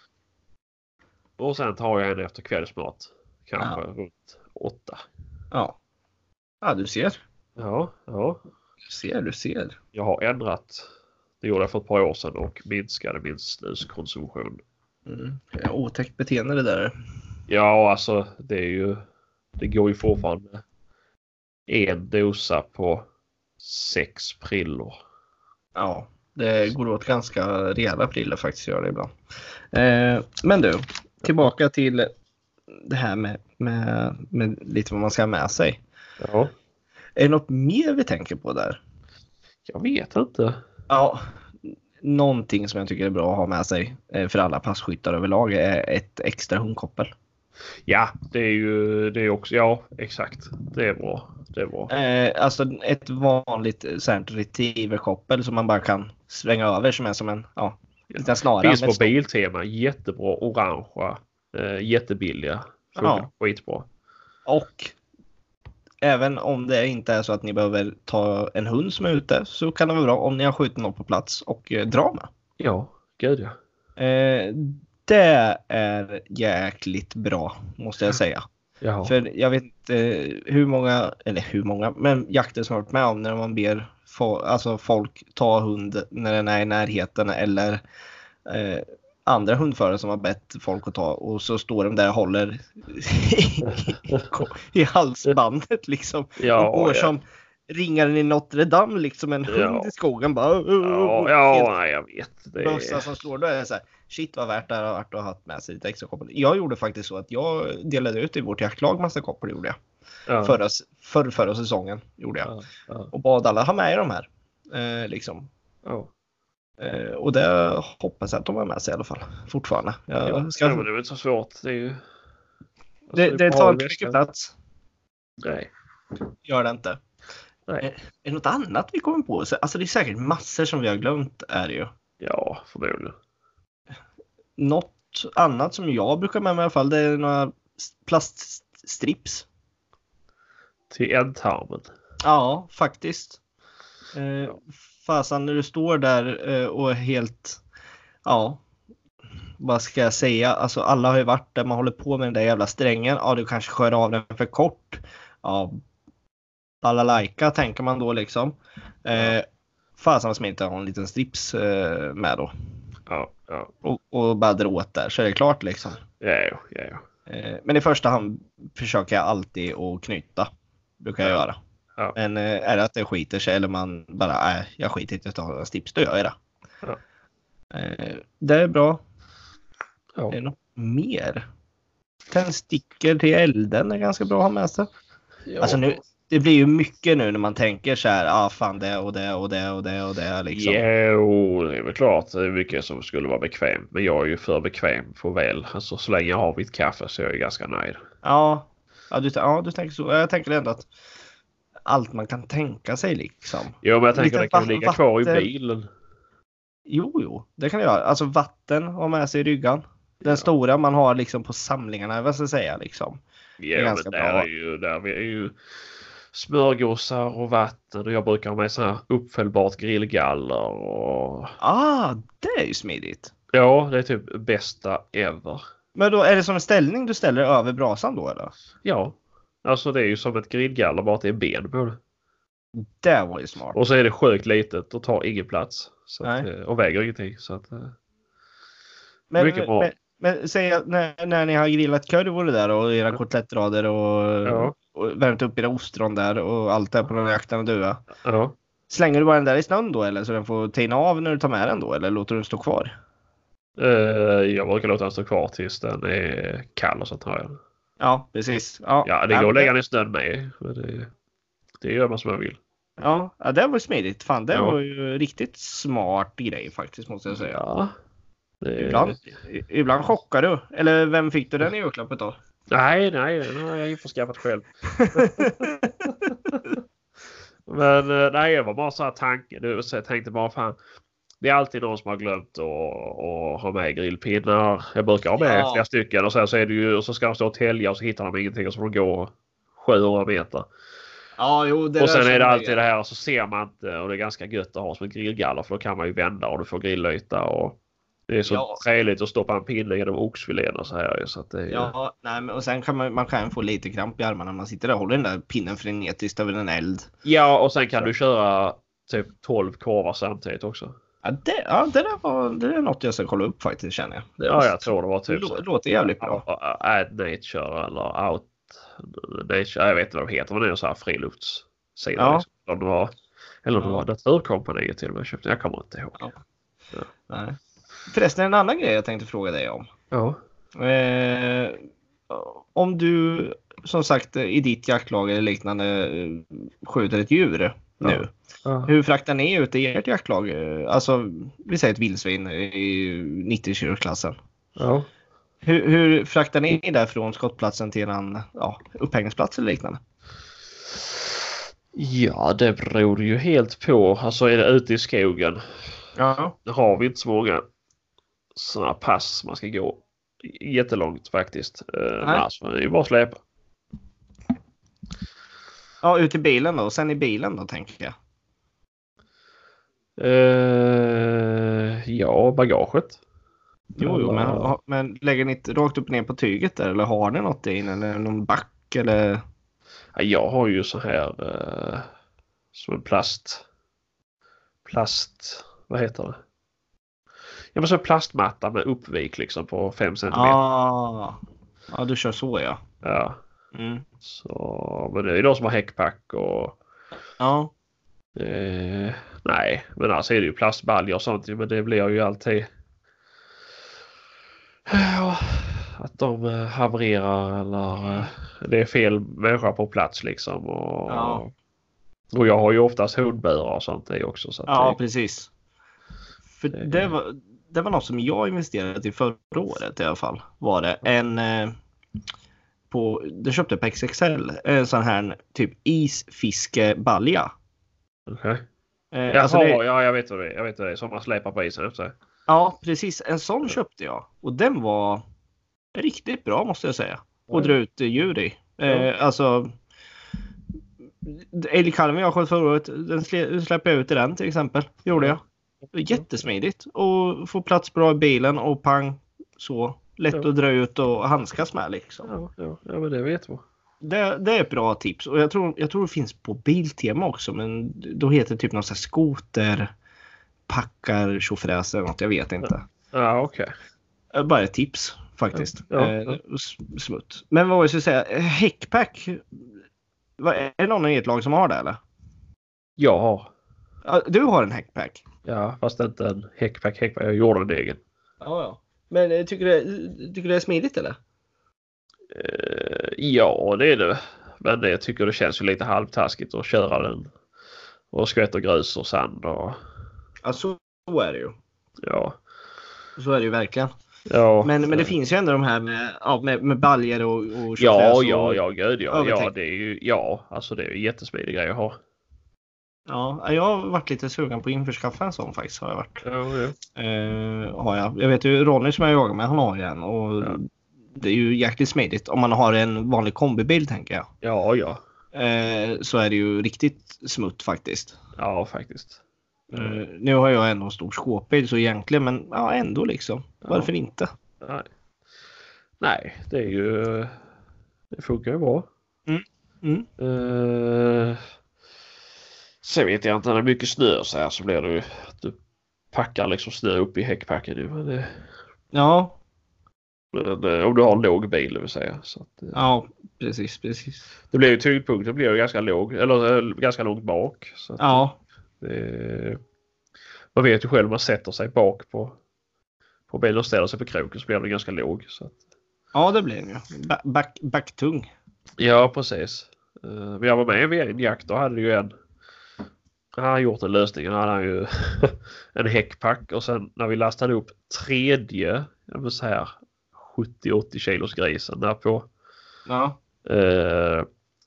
Och sen tar jag en efter kvällsmat. Kanske runt åtta. Ja. Ja, du ser. Ja, ja. Du ser, du ser. Jag har ändrat. Det gjorde jag för ett par år sedan och minskade min snuskonsumtion. Mm. Ja, Otäckt beteende det där. Ja, alltså det är ju. Det går ju fortfarande en dosa på sex prillor. Ja, det går åt ganska rejäla prylar faktiskt, gör det ibland. Eh, men du, tillbaka till det här med, med, med lite vad man ska ha med sig. Ja, Är det något mer vi tänker på där? jag vet inte. Ja, någonting som jag tycker är bra att ha med sig eh, för alla passkyttar överlag är ett extra hundkoppel. Ja, det är ju det är också. Ja, exakt. Det är bra. Det är bra. Eh, alltså ett vanligt eh, sånt här retrieverkoppel som man bara kan svänga över som är som en ja, liten snara. Finns med ett på stort- Biltema. Jättebra. Orangea. Eh, jättebilliga. Funkar Ja. skitbra. Och även om det inte är så att ni behöver ta en hund som är ute så kan det vara bra om ni har skjutit någon på plats och eh, drar med. Ja, gud ja. Eh, det är jäkligt bra måste jag säga. Jaha. För jag vet inte hur många, eller hur många, men jakter som jag varit med om när man ber fo- alltså folk ta hund när den är i närheten eller eh, andra hundförare som har bett folk att ta och så står de där och håller i halsbandet liksom. Ja, och går ja. som ringaren i Notre Dame liksom en hund Ja. i skogen bara. uh, Ja, ja nej, jag vet. Det Bössa är... som står då är det så här, shit vad värt det här har varit att ha haft med sig lite extra koppel. Jag gjorde faktiskt så att jag delade ut i vårt jaktlag massa koppel gjorde jag. Ja, Förra, förr, förra säsongen gjorde jag. ja, ja, Och bad alla ha med i de här. Eh, liksom. ja. eh, och det hoppas jag att de har med sig i alla fall. Fortfarande. Jag Ja, ska, men det är väl inte så svårt. Det, är ju... Alltså, det, det bara tar att inte väska. mycket plats. Nej. Gör det inte. Nej. Eh, Är det något annat vi kommer på? Så- Alltså det är säkert massor som vi har glömt är det ju. Ja, förmodligen. Något annat som jag brukar med mig i alla fall det är några s- plaststrips. Till ändtarmen. Ja, faktiskt. Eh, fasen när du står där eh, och helt, ja, vad ska jag säga? Alltså alla har ju varit där man håller på med den där jävla strängen. Ja, du kanske skär av den för kort. Ja, balalaika tänker man då liksom. Eh, fasen vad smidigt att ha en liten strips eh, med då. Ja, ja. Och, och bara dra åt där så är det klart liksom. Ja, ja, ja. Eh, Men i första hand försöker jag alltid att knyta. Brukar jag Ja. göra. Ja. Men eh, är det att det skiter sig eller man bara, nej, jag skiter inte i att ta några slips, då gör jag det. Ja. Eh, Det är bra. ja. Är det något mer? Tändstickor till elden är ganska bra att ha med sig. ja. Alltså nu, det blir ju mycket nu när man tänker så här, ah fan det och det och det och det och det liksom. Jo, det är väl klart. Det är mycket som skulle vara bekvämt. Men jag är ju för bekväm för väl. Alltså så länge jag har mitt kaffe så är jag ju ganska nöjd. Ja, ja, du, ja, du tänker så. Jag tänker ändå att allt man kan tänka sig liksom. Jo, men jag tänker Lite det kan va- ju ligga kvar i vatten. bilen. Jo, jo, det kan jag göra. Alltså vatten har med sig i ryggan. Den Ja. stora man har liksom på samlingarna, vad ska jag säga liksom. Ja, är men ganska där bra. är ju, där är ju smörgåsar och vatten och jag brukar ha med sådana här uppfällbart grillgaller och Ah, det är ju smidigt. ja, det är typ bästa ever. Men då är det som en ställning du ställer över brasan då eller? Ja, alltså det är ju som ett grillgaller bara att det är ben på det. Det var ju smart. Och så är det sjukt litet och tar ingen plats så att, Nej. eh, och väger ingenting. Så att, eh, Men, mycket bra. men, men säg att när, när ni har grillat curry och det där och era kotlettrader och, ja, och värmt upp era ostron där och allt det här på den här jakten och dua. ja. Slänger du bara den där i snön då eller så den får tina av när du tar med den då eller låter du den stå kvar? Eh, jag brukar låta den stå kvar tills den är kall och så tar jag den. Ja, precis. Ja, Ja, det Nej, går att men- lägga den i snön med. Men det, det gör man som man vill. Ja, ja, det var smidigt. Fan, det Ja. var ju riktigt smart grej faktiskt måste jag säga. Ja, Det- Ibland, i- ibland chockar du. Eller vem fick du den i julklappet av? Nej, nej, den har jag införskaffat själv. Men eh, nej, jag var bara så här tanke. Du, så jag tänkte bara fan. Det är alltid någon som har glömt att, att ha med grillpinnar. Jag brukar ha med Ja. flera stycken och sen så är det ju och så ska de stå och tälja och så hittar de ingenting och så får de gå 700 meter. ja, jo, det och sen där är det som alltid det här så ser man inte och det är ganska gött att ha som en grillgaller för då kan man ju vända och du får grillyta och det är så Ja. trevligt att stoppa en pinne genom oxfilén och så här. ju, Så att det är, ju- Ja, nej, men, och sen kan man, man kan få lite kramp i armarna när man sitter där och håller den där pinnen frenetiskt över en eld. Ja, och sen kan du köra typ 12 korvar samtidigt också. Ja, det, ja, det där var det där är något jag ska kolla upp faktiskt känner jag. Det, Ja, jag tror det var typ det lå- låter jävligt bra. Ja, Ad Nature eller Out Nature. Jag vet inte vad de heter, men det är så här friluftssida. Ja. Liksom. Om det var, eller om det Ja. var Naturkompaniet till och med köpte. Jag kommer inte ihåg. Ja. Nej. Förresten, en annan grej jag tänkte fråga dig om. Ja. Eh, om du som sagt i ditt jaktlag eller liknande eh, skjuter ett djur nu. Hur fraktar ni ut i ert jaktlag? Eh, Alltså, vi säger ett vildsvin i 90 kilosklassen. Ja. Hur, hur fraktar ni det från skottplatsen till en ja, upphängningsplats eller liknande? ja, det beror ju helt på. Alltså är det ute i skogen. Ja. Nu har vi inte så många sådana pass man ska gå jättelångt faktiskt. Eh, Men alltså, det är ju bara att släpa. Ja, ut i bilen då. Sen i bilen då tänker jag. Eh, ja, bagaget. Jo, jo men, ha- men lägger ni inte rakt upp och ner på tyget där eller har ni något in eller någon back eller? Ja, Jag har ju så här eh, som en plast... Plast... Vad heter det? Ja men så en plastmatta med uppvik liksom på 5 cm. Ja. Ah. Ja, du kör så ja. Mm. Så, men det är ju de som har häckpack och... Ja. Eh, nej, men alltså är det ju plastbaljor och sånt ju, men det blir ju alltid... Ja, att de eh, havererar eller eh, det är fel människa på plats liksom. Och, Ja. och jag har ju oftast hundburar och sånt i också. Så att Ja, det, precis. För Det- det var, det var något som jag investerade i förra året i alla fall. Var det en... eh, På, det köpte jag på XXL. En sån här typ isfiskebalja. Okej. Eh, Jaha, alltså det, ja jag vet vad det är. Jag vet vad det är. Som man släpar på isen efter sig. ja, precis. En sån köpte jag. Och den var riktigt bra måste jag säga. Och dra ut eh, djur i. Ja. Eh, alltså... Älgkalven jag sköt förra året, den sle- släppte jag ut i den till exempel. Gjorde jag. Mm. Jättesmidigt och få plats bra i bilen och pang så lätt Ja. att dra ut och handskas med liksom. Ja, ja, ja men det vet man. Det, det är ett bra tips och jag tror, jag tror det finns på Biltema också men då heter det typ någon sån här skoter packar tjofräs eller något, jag vet inte. Ja okej. Eh, Bara ett tips faktiskt. Ja, Eh, ja. s- Smutt. Men vad var jag skulle säga, Eh, häckpack. Vad- Är det någon i ert lag som har det eller? Jag har. Ja, Du har en häckpack? Ja fast inte en häckpack häckpack. Jag gjorde en egen. Ja, ja. Men eh, tycker du, tycker du det är smidigt eller? Eh, ja, det är det. Men det, jag tycker det känns ju lite halvtaskigt att köra den. Och skvätter grus och sand och Ja, så så är det ju. ja. Så är det ju verkligen. ja Men, men det finns ju ändå de här med, ja, med, med baljor och, och Ja, köttfärs och, ja, ja, gud ja. ja. övertänkt. Det är ju, ja, alltså det är ju en jättesmidig grej att ha. ja. Jag har varit lite sugen på att införskaffa en sån faktiskt. Har jag varit. Ja, ja. Eh, har jag. jag vet ju Ronny som jag jagar med, han har ju en. Och Ja. Det är ju jäkligt smidigt. Om man har en vanlig kombibil tänker jag. Ja, ja. Eh, så är det ju riktigt smutt faktiskt. Ja, faktiskt. Eh, nu har jag ändå en stor skåpbil så egentligen, men ja, ändå liksom. Ja. Varför inte? Nej. Nej, det är ju... Det funkar ju bra. Mm. Eh, sen vet jag inte, när det är mycket snö så här så blir det ju att du packar liksom snö upp i häckpacken. ju, Men det, Ja, men, eh, om du har en låg bil, det vill säga. Så att, eh, ja, precis, precis. det blir ju tyngdpunkten blir ju ganska låg, eller eh, ganska långt bak. Så att, Ja, det, man vet ju själv, man sätter sig bak på, på bilen och ställer sig på kroken så blir den ganska låg. Så att, ja det blir den ju. Ba- Back, backtung. Ja, precis. Eh, Men jag var med vid en jakt. Då hade ju en hade han gjort en lösning. Han hade han ju en häckpack och sen när vi lastade upp tredje, jag vill säga 70-80 kilos grisen där på. Ja. Eh,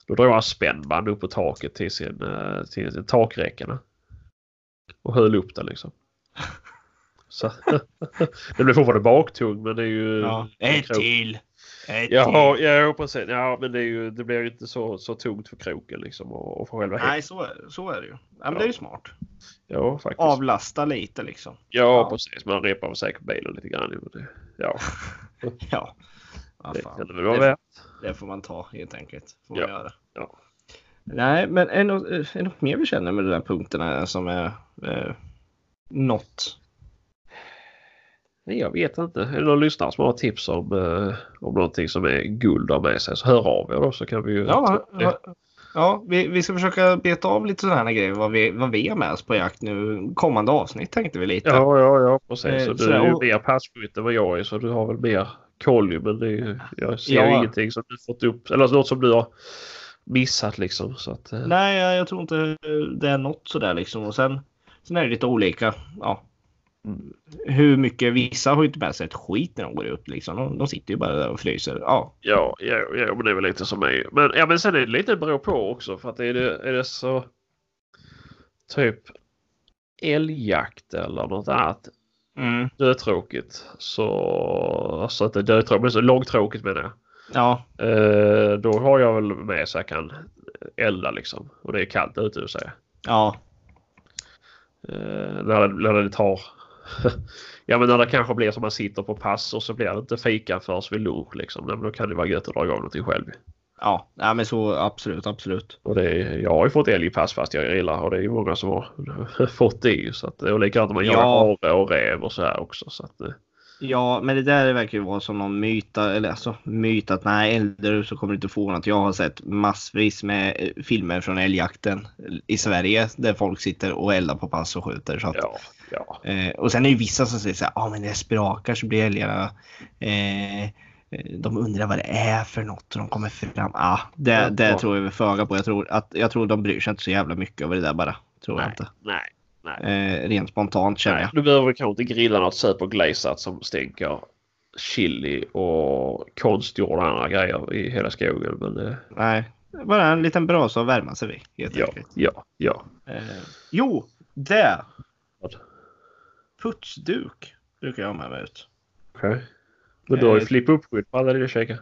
då drog han spännband upp på taket till sin, eh, till sin takräckena. Och höll upp den liksom. Så, det blev fortfarande baktung men det är ju... ja. en Ett krok. till! Ett Ja, ja precis. Ja, men det, är ju, det blir ju inte så, så tungt för kroken liksom och, och för själva till! häcken. Nej, så är, så är det ju. Ja, men Det är ju smart. Ja, faktiskt. Avlasta lite liksom. Ja, precis. Man repar säkert bilen lite grann. ju, men Det, ja, Ja. Vad det fan. kan det väl vara Det- värt. Det får man ta helt enkelt. Får man Ja. göra. Ja. Nej, men är det något, eh, är det något mer vi känner med de där punkterna som är eh, något? Nej, jag vet inte. Är det någon lyssnare som har tips om, eh, om någonting som är guld av med sig så hör av er då så kan vi ju... Ja, ja, ja vi, vi ska försöka beta av lite sådana här grejer vad vi, vad vi är med oss på jakt nu. Kommande avsnitt tänkte vi lite. ja, ja, ja precis. Eh, Så du sådär, är ju och- mer passkytt än vad jag är så du har väl mer koll ju, men det är, ju- jag ser ju Ja. ingenting som du fått upp eller något som du har missat liksom. Så att, eh, Nej, jag, jag tror inte eh, det är något sådär liksom. Och sen, sen är det lite olika. Ja. Mm. Hur mycket, vissa har ju inte med sig ett skit när de går ut liksom. De, de sitter ju bara där och fryser. Ja, Ja, ja, ja, men det är väl lite som mig. Men, ja, men sen är det lite beror på också för att är det, är det så typ älgjakt eller något annat mm. dötråkigt så alltså inte dötråkigt men så långtråkigt menar jag. ja Eh, då har jag väl med så jag kan elda liksom och det är kallt ute och så. Eh, Ja, när, det- när det tar Ja men när det kanske blir som man sitter på pass och så blir det inte fika förrän vid lunch liksom. Nej, men då kan det vara gött att dra igång någonting själv. ja, ja men så absolut, absolut. Och det, är- jag har ju fått älgpass fast jag grillar och det är ju många som har fått det ju. Så att, och likadant om man jagar Ja. hare och räv och så här också. Så att, eh, Ja, men det där verkar ju vara som någon myt, eller alltså myt att nej, eldar du så kommer du inte få något. Jag har sett massvis med eh, filmer från älgjakten i Sverige där folk sitter och eldar på pass och skjuter. Så att, ja, ja. eh, och sen är det ju vissa som säger så här, ja ah, men när det sprakar så blir älgarna, eh, eh, de undrar vad det är för något och de kommer fram. Ah, det Ja. det tror jag vi föga på. Jag tror, att, jag tror de bryr sig inte så jävla mycket över det där bara. Tror jag inte. Nej, nej. Eh, rent spontant känner jag. Du behöver kanske inte grilla något sött och glazat som stänker chili och konstgjorda andra grejer i hela skogen. Men eh, Nej, bara en liten brasa att värma sig vid helt ja, enkelt. ja, ja. Eh, jo, det! Vad? Putsduk brukar jag ha med mig ut. Okej. Men du har ju Eh, flipp uppskydd på alla dina käkar.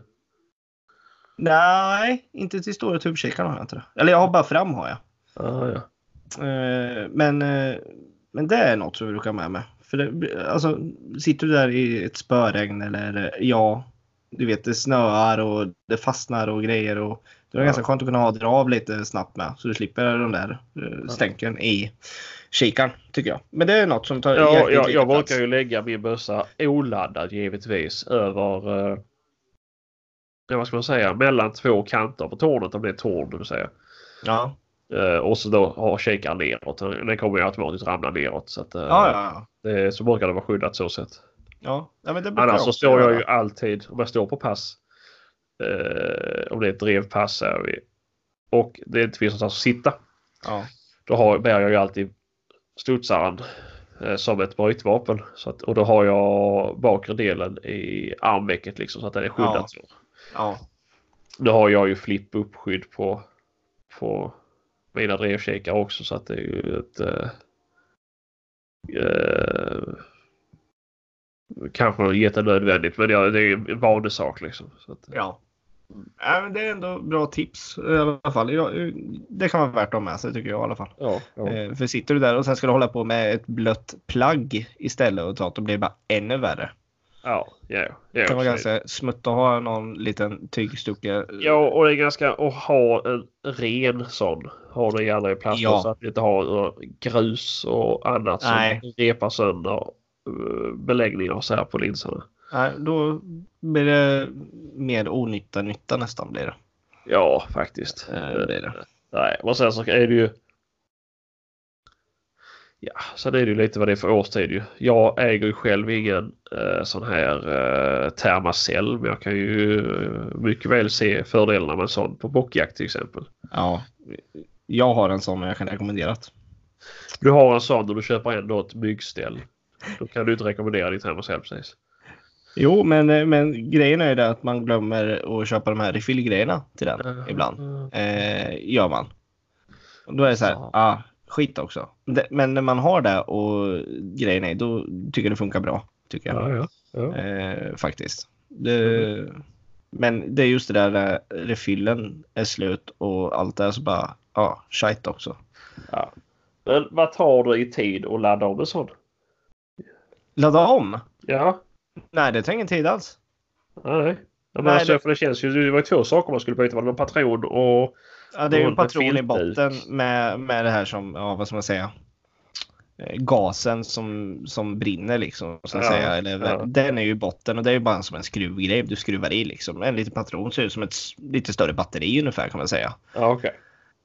Nej, inte till stora tubkikaren har jag inte det. Eller jag har bara fram har jag. Ah, ja. Eh, men, eh, men det är något som jag brukar ha med mig. För det, alltså, sitter du där i ett spöregn eller eh, ja, du vet det snöar och det fastnar och grejer. Och det är Ja. ganska skönt att kunna ha dra av lite snabbt med. Så du slipper de där eh, stänken i kikaren tycker jag. Men det är något som tar Ja, jäkligt jag, lite jag plats. brukar ju lägga min bössa oladdad givetvis över, eh, ja, vad ska man säga, mellan två kanter på tornet om det är torn det vill säga. Ja, Eh, och så då ha kikaren neråt. Den kommer ju automatiskt ramla neråt. Så, att, eh, ja, ja. ja. Det, så brukar det vara skyddat så sett. ja. ja men det brukar Annars så också står jag göra. ju alltid, om jag står på pass, eh, om det är ett drevpass är vi, och det inte finns någonstans att sitta, Ja. då har, bär jag ju alltid studsaren eh, som ett brytvapen. Så att, och då har jag bakre delen i armvecket liksom så att den är skyddad. Ja. Så. Ja. Nu har jag ju flipp uppskydd på, på mina drevkikare också så att det är ju ett eh, eh, Kanske jättenödvändigt men ja, det är ju en vanesak liksom. Så att, Ja. ja men det är ändå bra tips i alla fall. Jag, det kan vara värt att ha med sig tycker jag i alla fall. ja, ja. Eh, För sitter du där och sen ska du hålla på med ett blött plagg istället och ta, då blir det bara ännu värre. ja, ja, Det ja, kan vara så- ganska smutt att ha någon liten tygstucka. Ja, och det är ganska att ha en ren sån. Har den gärna i plast Ja. så att vi inte har eh, grus och annat som Nej. repar sönder eh, beläggningar och så här på linserna. Nej, då blir det mer onytta nytta nästan blir det. Ja, faktiskt. Eh, blir det. Nej, och sen så är det ju... Ja, sen är det ju lite vad det är för årstid ju. Jag äger ju själv ingen eh, sån här eh, termacell, men jag kan ju eh, mycket väl se fördelarna med en sån på bockjakt till exempel. Ja. Jag har en sån men jag kan rekommendera det. Du har en sån och du köper ändå ett byggställ. Då kan du inte rekommendera ditt hem och sälj precis. Jo, men, eh, men grejen är ju det att man glömmer att köpa de här refillgrejerna till den ibland. Eh, gör man. Och Då är det så här, Ja. ah, skit också. Det- Men när man har det och grejen är, då tycker jag det funkar bra. Tycker jag. Ja, ja, ja. Eh, faktiskt. Det, men det är just det där när refillen är slut och allt det här så bara, ja, ah, shit också. Ja. Men vad tar du i tid att ladda om en sån? Ladda om? Ja, Nej, det tar ingen tid alls. nej. Ja, men Nej, alltså, det- För det känns ju, det var ju två saker man skulle byta. Var det någon patron och... Ja, det är ju Och en med patron i filt botten ut. med, med det här som, ja vad ska man säga, Eh, gasen som, som brinner liksom. Så att Ja, säga. Eller, ja. Den är ju i botten och det är ju bara som en skruvgrej du skruvar i liksom. En liten patron ser ut som ett s- lite större batteri ungefär kan man säga. Ja, okej.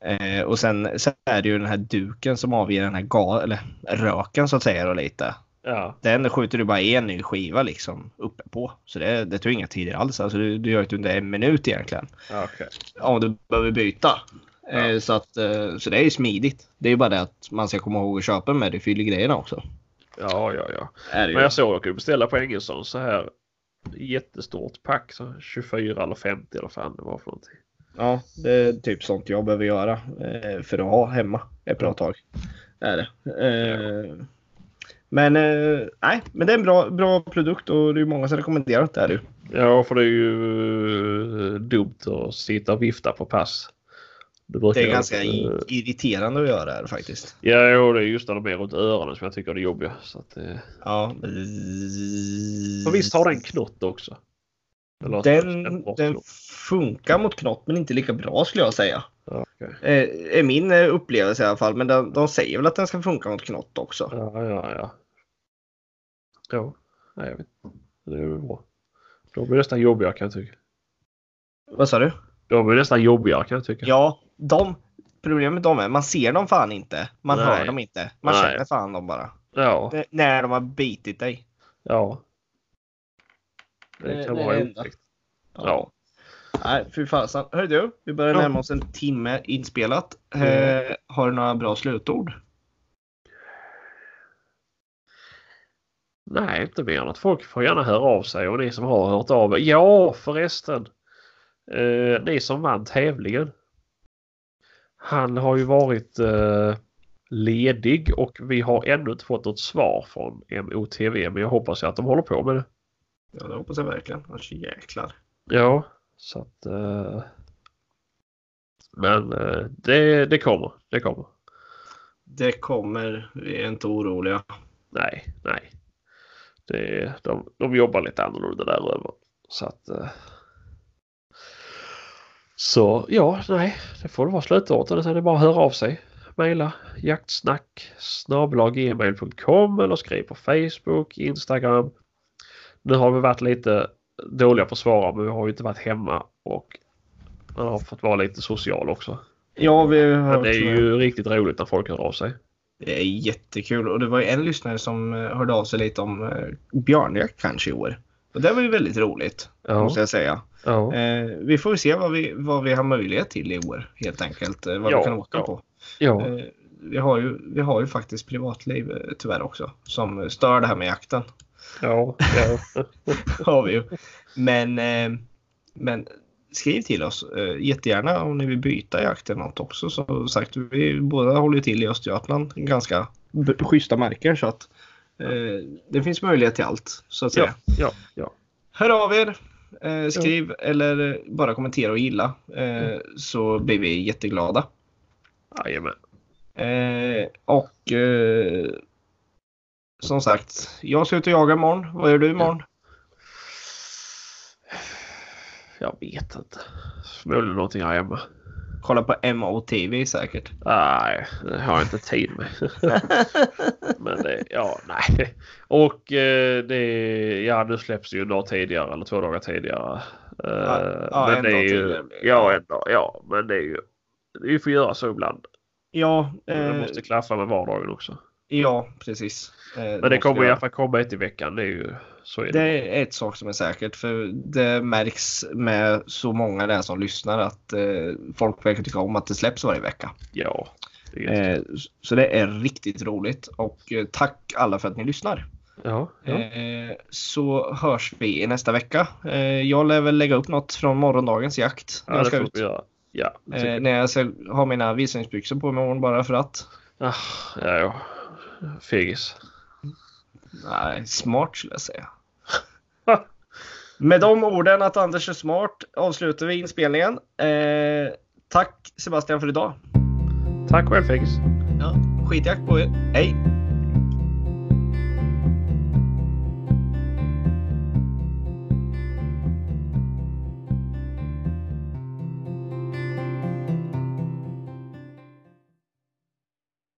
Eh, och sen, sen är det ju den här duken som avger den här ga, eller, röken så att säga då lite. Ja. Den skjuter du bara en ny skiva liksom uppe på. Så det, det tar inga tider alls. Alltså, du, du gör det under en minut egentligen Ja, okej. om du behöver byta. Ja. Eh, Så, att, eh, så det är ju smidigt. Det är ju bara det att man ska komma ihåg att köpa med det fyller grejerna också. ja, ja, ja. Är det Men ju. jag såg, jag kunde beställa på Engelsson så här jättestort pack. Så 24 eller 50 eller fan det var för någonting. Ja, det är typ sånt jag behöver göra eh, för att ha hemma ett bra tag. Det är det. Eh, Men, eh, nej, men det är en bra, bra produkt och det är många som rekommenderar det. Här, ju. Ja, för det är ju eh, dumt att sitta och vifta på pass. Det, brukar det är jag- ganska i- eh, irriterande att göra det här faktiskt. Ja, jo, det är just när de är runt öronen som jag tycker är det jobbiga. Så att, eh. Ja. Och visst har den knott också? Eller- den, bort den knott. funkar mot knott men inte lika bra skulle jag säga. Ja, okej. Eh, är min eh, upplevelse i alla fall. Men de, de säger väl att den ska funka mot knott också. ja, ja, ja. Ja, nej, jag vet inte. Det är väl bra. De är nästan jobbigare kan jag tycka. Vad sa du? De är nästan jobbigare kan jag tycka. Ja, de. Problemet med dem är man ser dem fan inte. Man Nej. hör dem inte. Man Nej. känner fan dem bara. Ja. N- när de har bitit dig. ja. Det Det- kan det är vara det enda. otäckt. Ja. Nej, fy fasen. Hör du, vi börjar Ja. närma oss en timme inspelat. Eh, Har du några bra slutord? Nej, inte mer än att folk får gärna höra av sig och ni som har hört av er. Ja, förresten. Eh, ni som vann tävlingen. Han har ju varit eh, ledig och vi har ännu inte fått något svar från MOTV men jag hoppas ju att de håller på med det. Ja, det hoppas jag verkligen. Annars jäklar. Ja, så att... Eh, men eh, det, det kommer. Det kommer. Det kommer. Vi är inte oroliga. Nej, nej. Det, de, de jobbar lite annorlunda där över. Så att... eh. Så ja, nej, det får det vara slutordet. Sen är det bara att höra av sig. Maila jaktsnack gmail.com eller skriv på Facebook, Instagram. Nu har vi varit lite dåliga på att svara men vi har ju inte varit hemma och man har fått vara lite social också. Ja, vi har Men det är ju riktigt roligt när folk hör av sig. Det är jättekul och det var ju en lyssnare som eh, hörde av sig lite om eh, björnjakt kanske i år. Och det var ju väldigt roligt Ja, måste jag säga. ja. Eh, vi får ju se vad vi, vad vi har möjlighet till i år helt enkelt. Eh, vad Ja, vi kan åka ja. på. ja. Eh, vi, har ju, vi har ju faktiskt privatliv eh, tyvärr också som eh, stör det här med jakten. Ja, ja. har vi ju. Men, eh, men skriv till oss eh, jättegärna om ni vill byta jakt eller något också. Som sagt, vi båda håller ju till i Östergötland. Ganska b- schyssta marker så att eh, det finns möjlighet till allt så att säga. ja, ja, ja. Hör av er! Eh, skriv eller eh, bara kommentera och gilla eh, så blir vi jätteglada. Jajamän. Eh, och eh, som sagt, jag ska ut och jaga imorgon. Vad gör du imorgon? Jag vet inte. Förmodligen någonting här hemma. Kolla på MOTV säkert. Nej, det har jag inte tid med. Men det, ja, nej. Och eh, det, ja, nu släpps det ju en dag tidigare eller två dagar tidigare. Eh, Ja, ja, en men det dag är ju, tidigare blir det. ja, en dag, ja, men det är ju, vi får göra så ibland. Ja, Det eh, måste klaffa med vardagen också. ja precis. Eh, Men det måste kommer i jag- alla fall komma ett i veckan. Det är ju, så är det. Det är ett sak som är säkert för det märks med så många där som lyssnar att eh, folk verkar tycka om att det släpps varje vecka. Ja, Det är gött. Eh, så det är riktigt roligt och eh, tack alla för att ni lyssnar. ja, ja. Eh, så hörs vi i nästa vecka. Eh, jag lär väl lägga upp något från morgondagens jakt. När ja jag det ska får ut. vi göra. Ja, det tycker Eh, jag. när jag ska ha mina visningsbyxor på mig imorgon bara för att. Ah, ja, ja. Fegis. Nej, smart skulle jag säga. Ha. Med de orden att Anders är smart avslutar vi inspelningen. Eh, tack Sebastian för idag. Tack själv Fegis. Ja, skitjakt på er. Hej!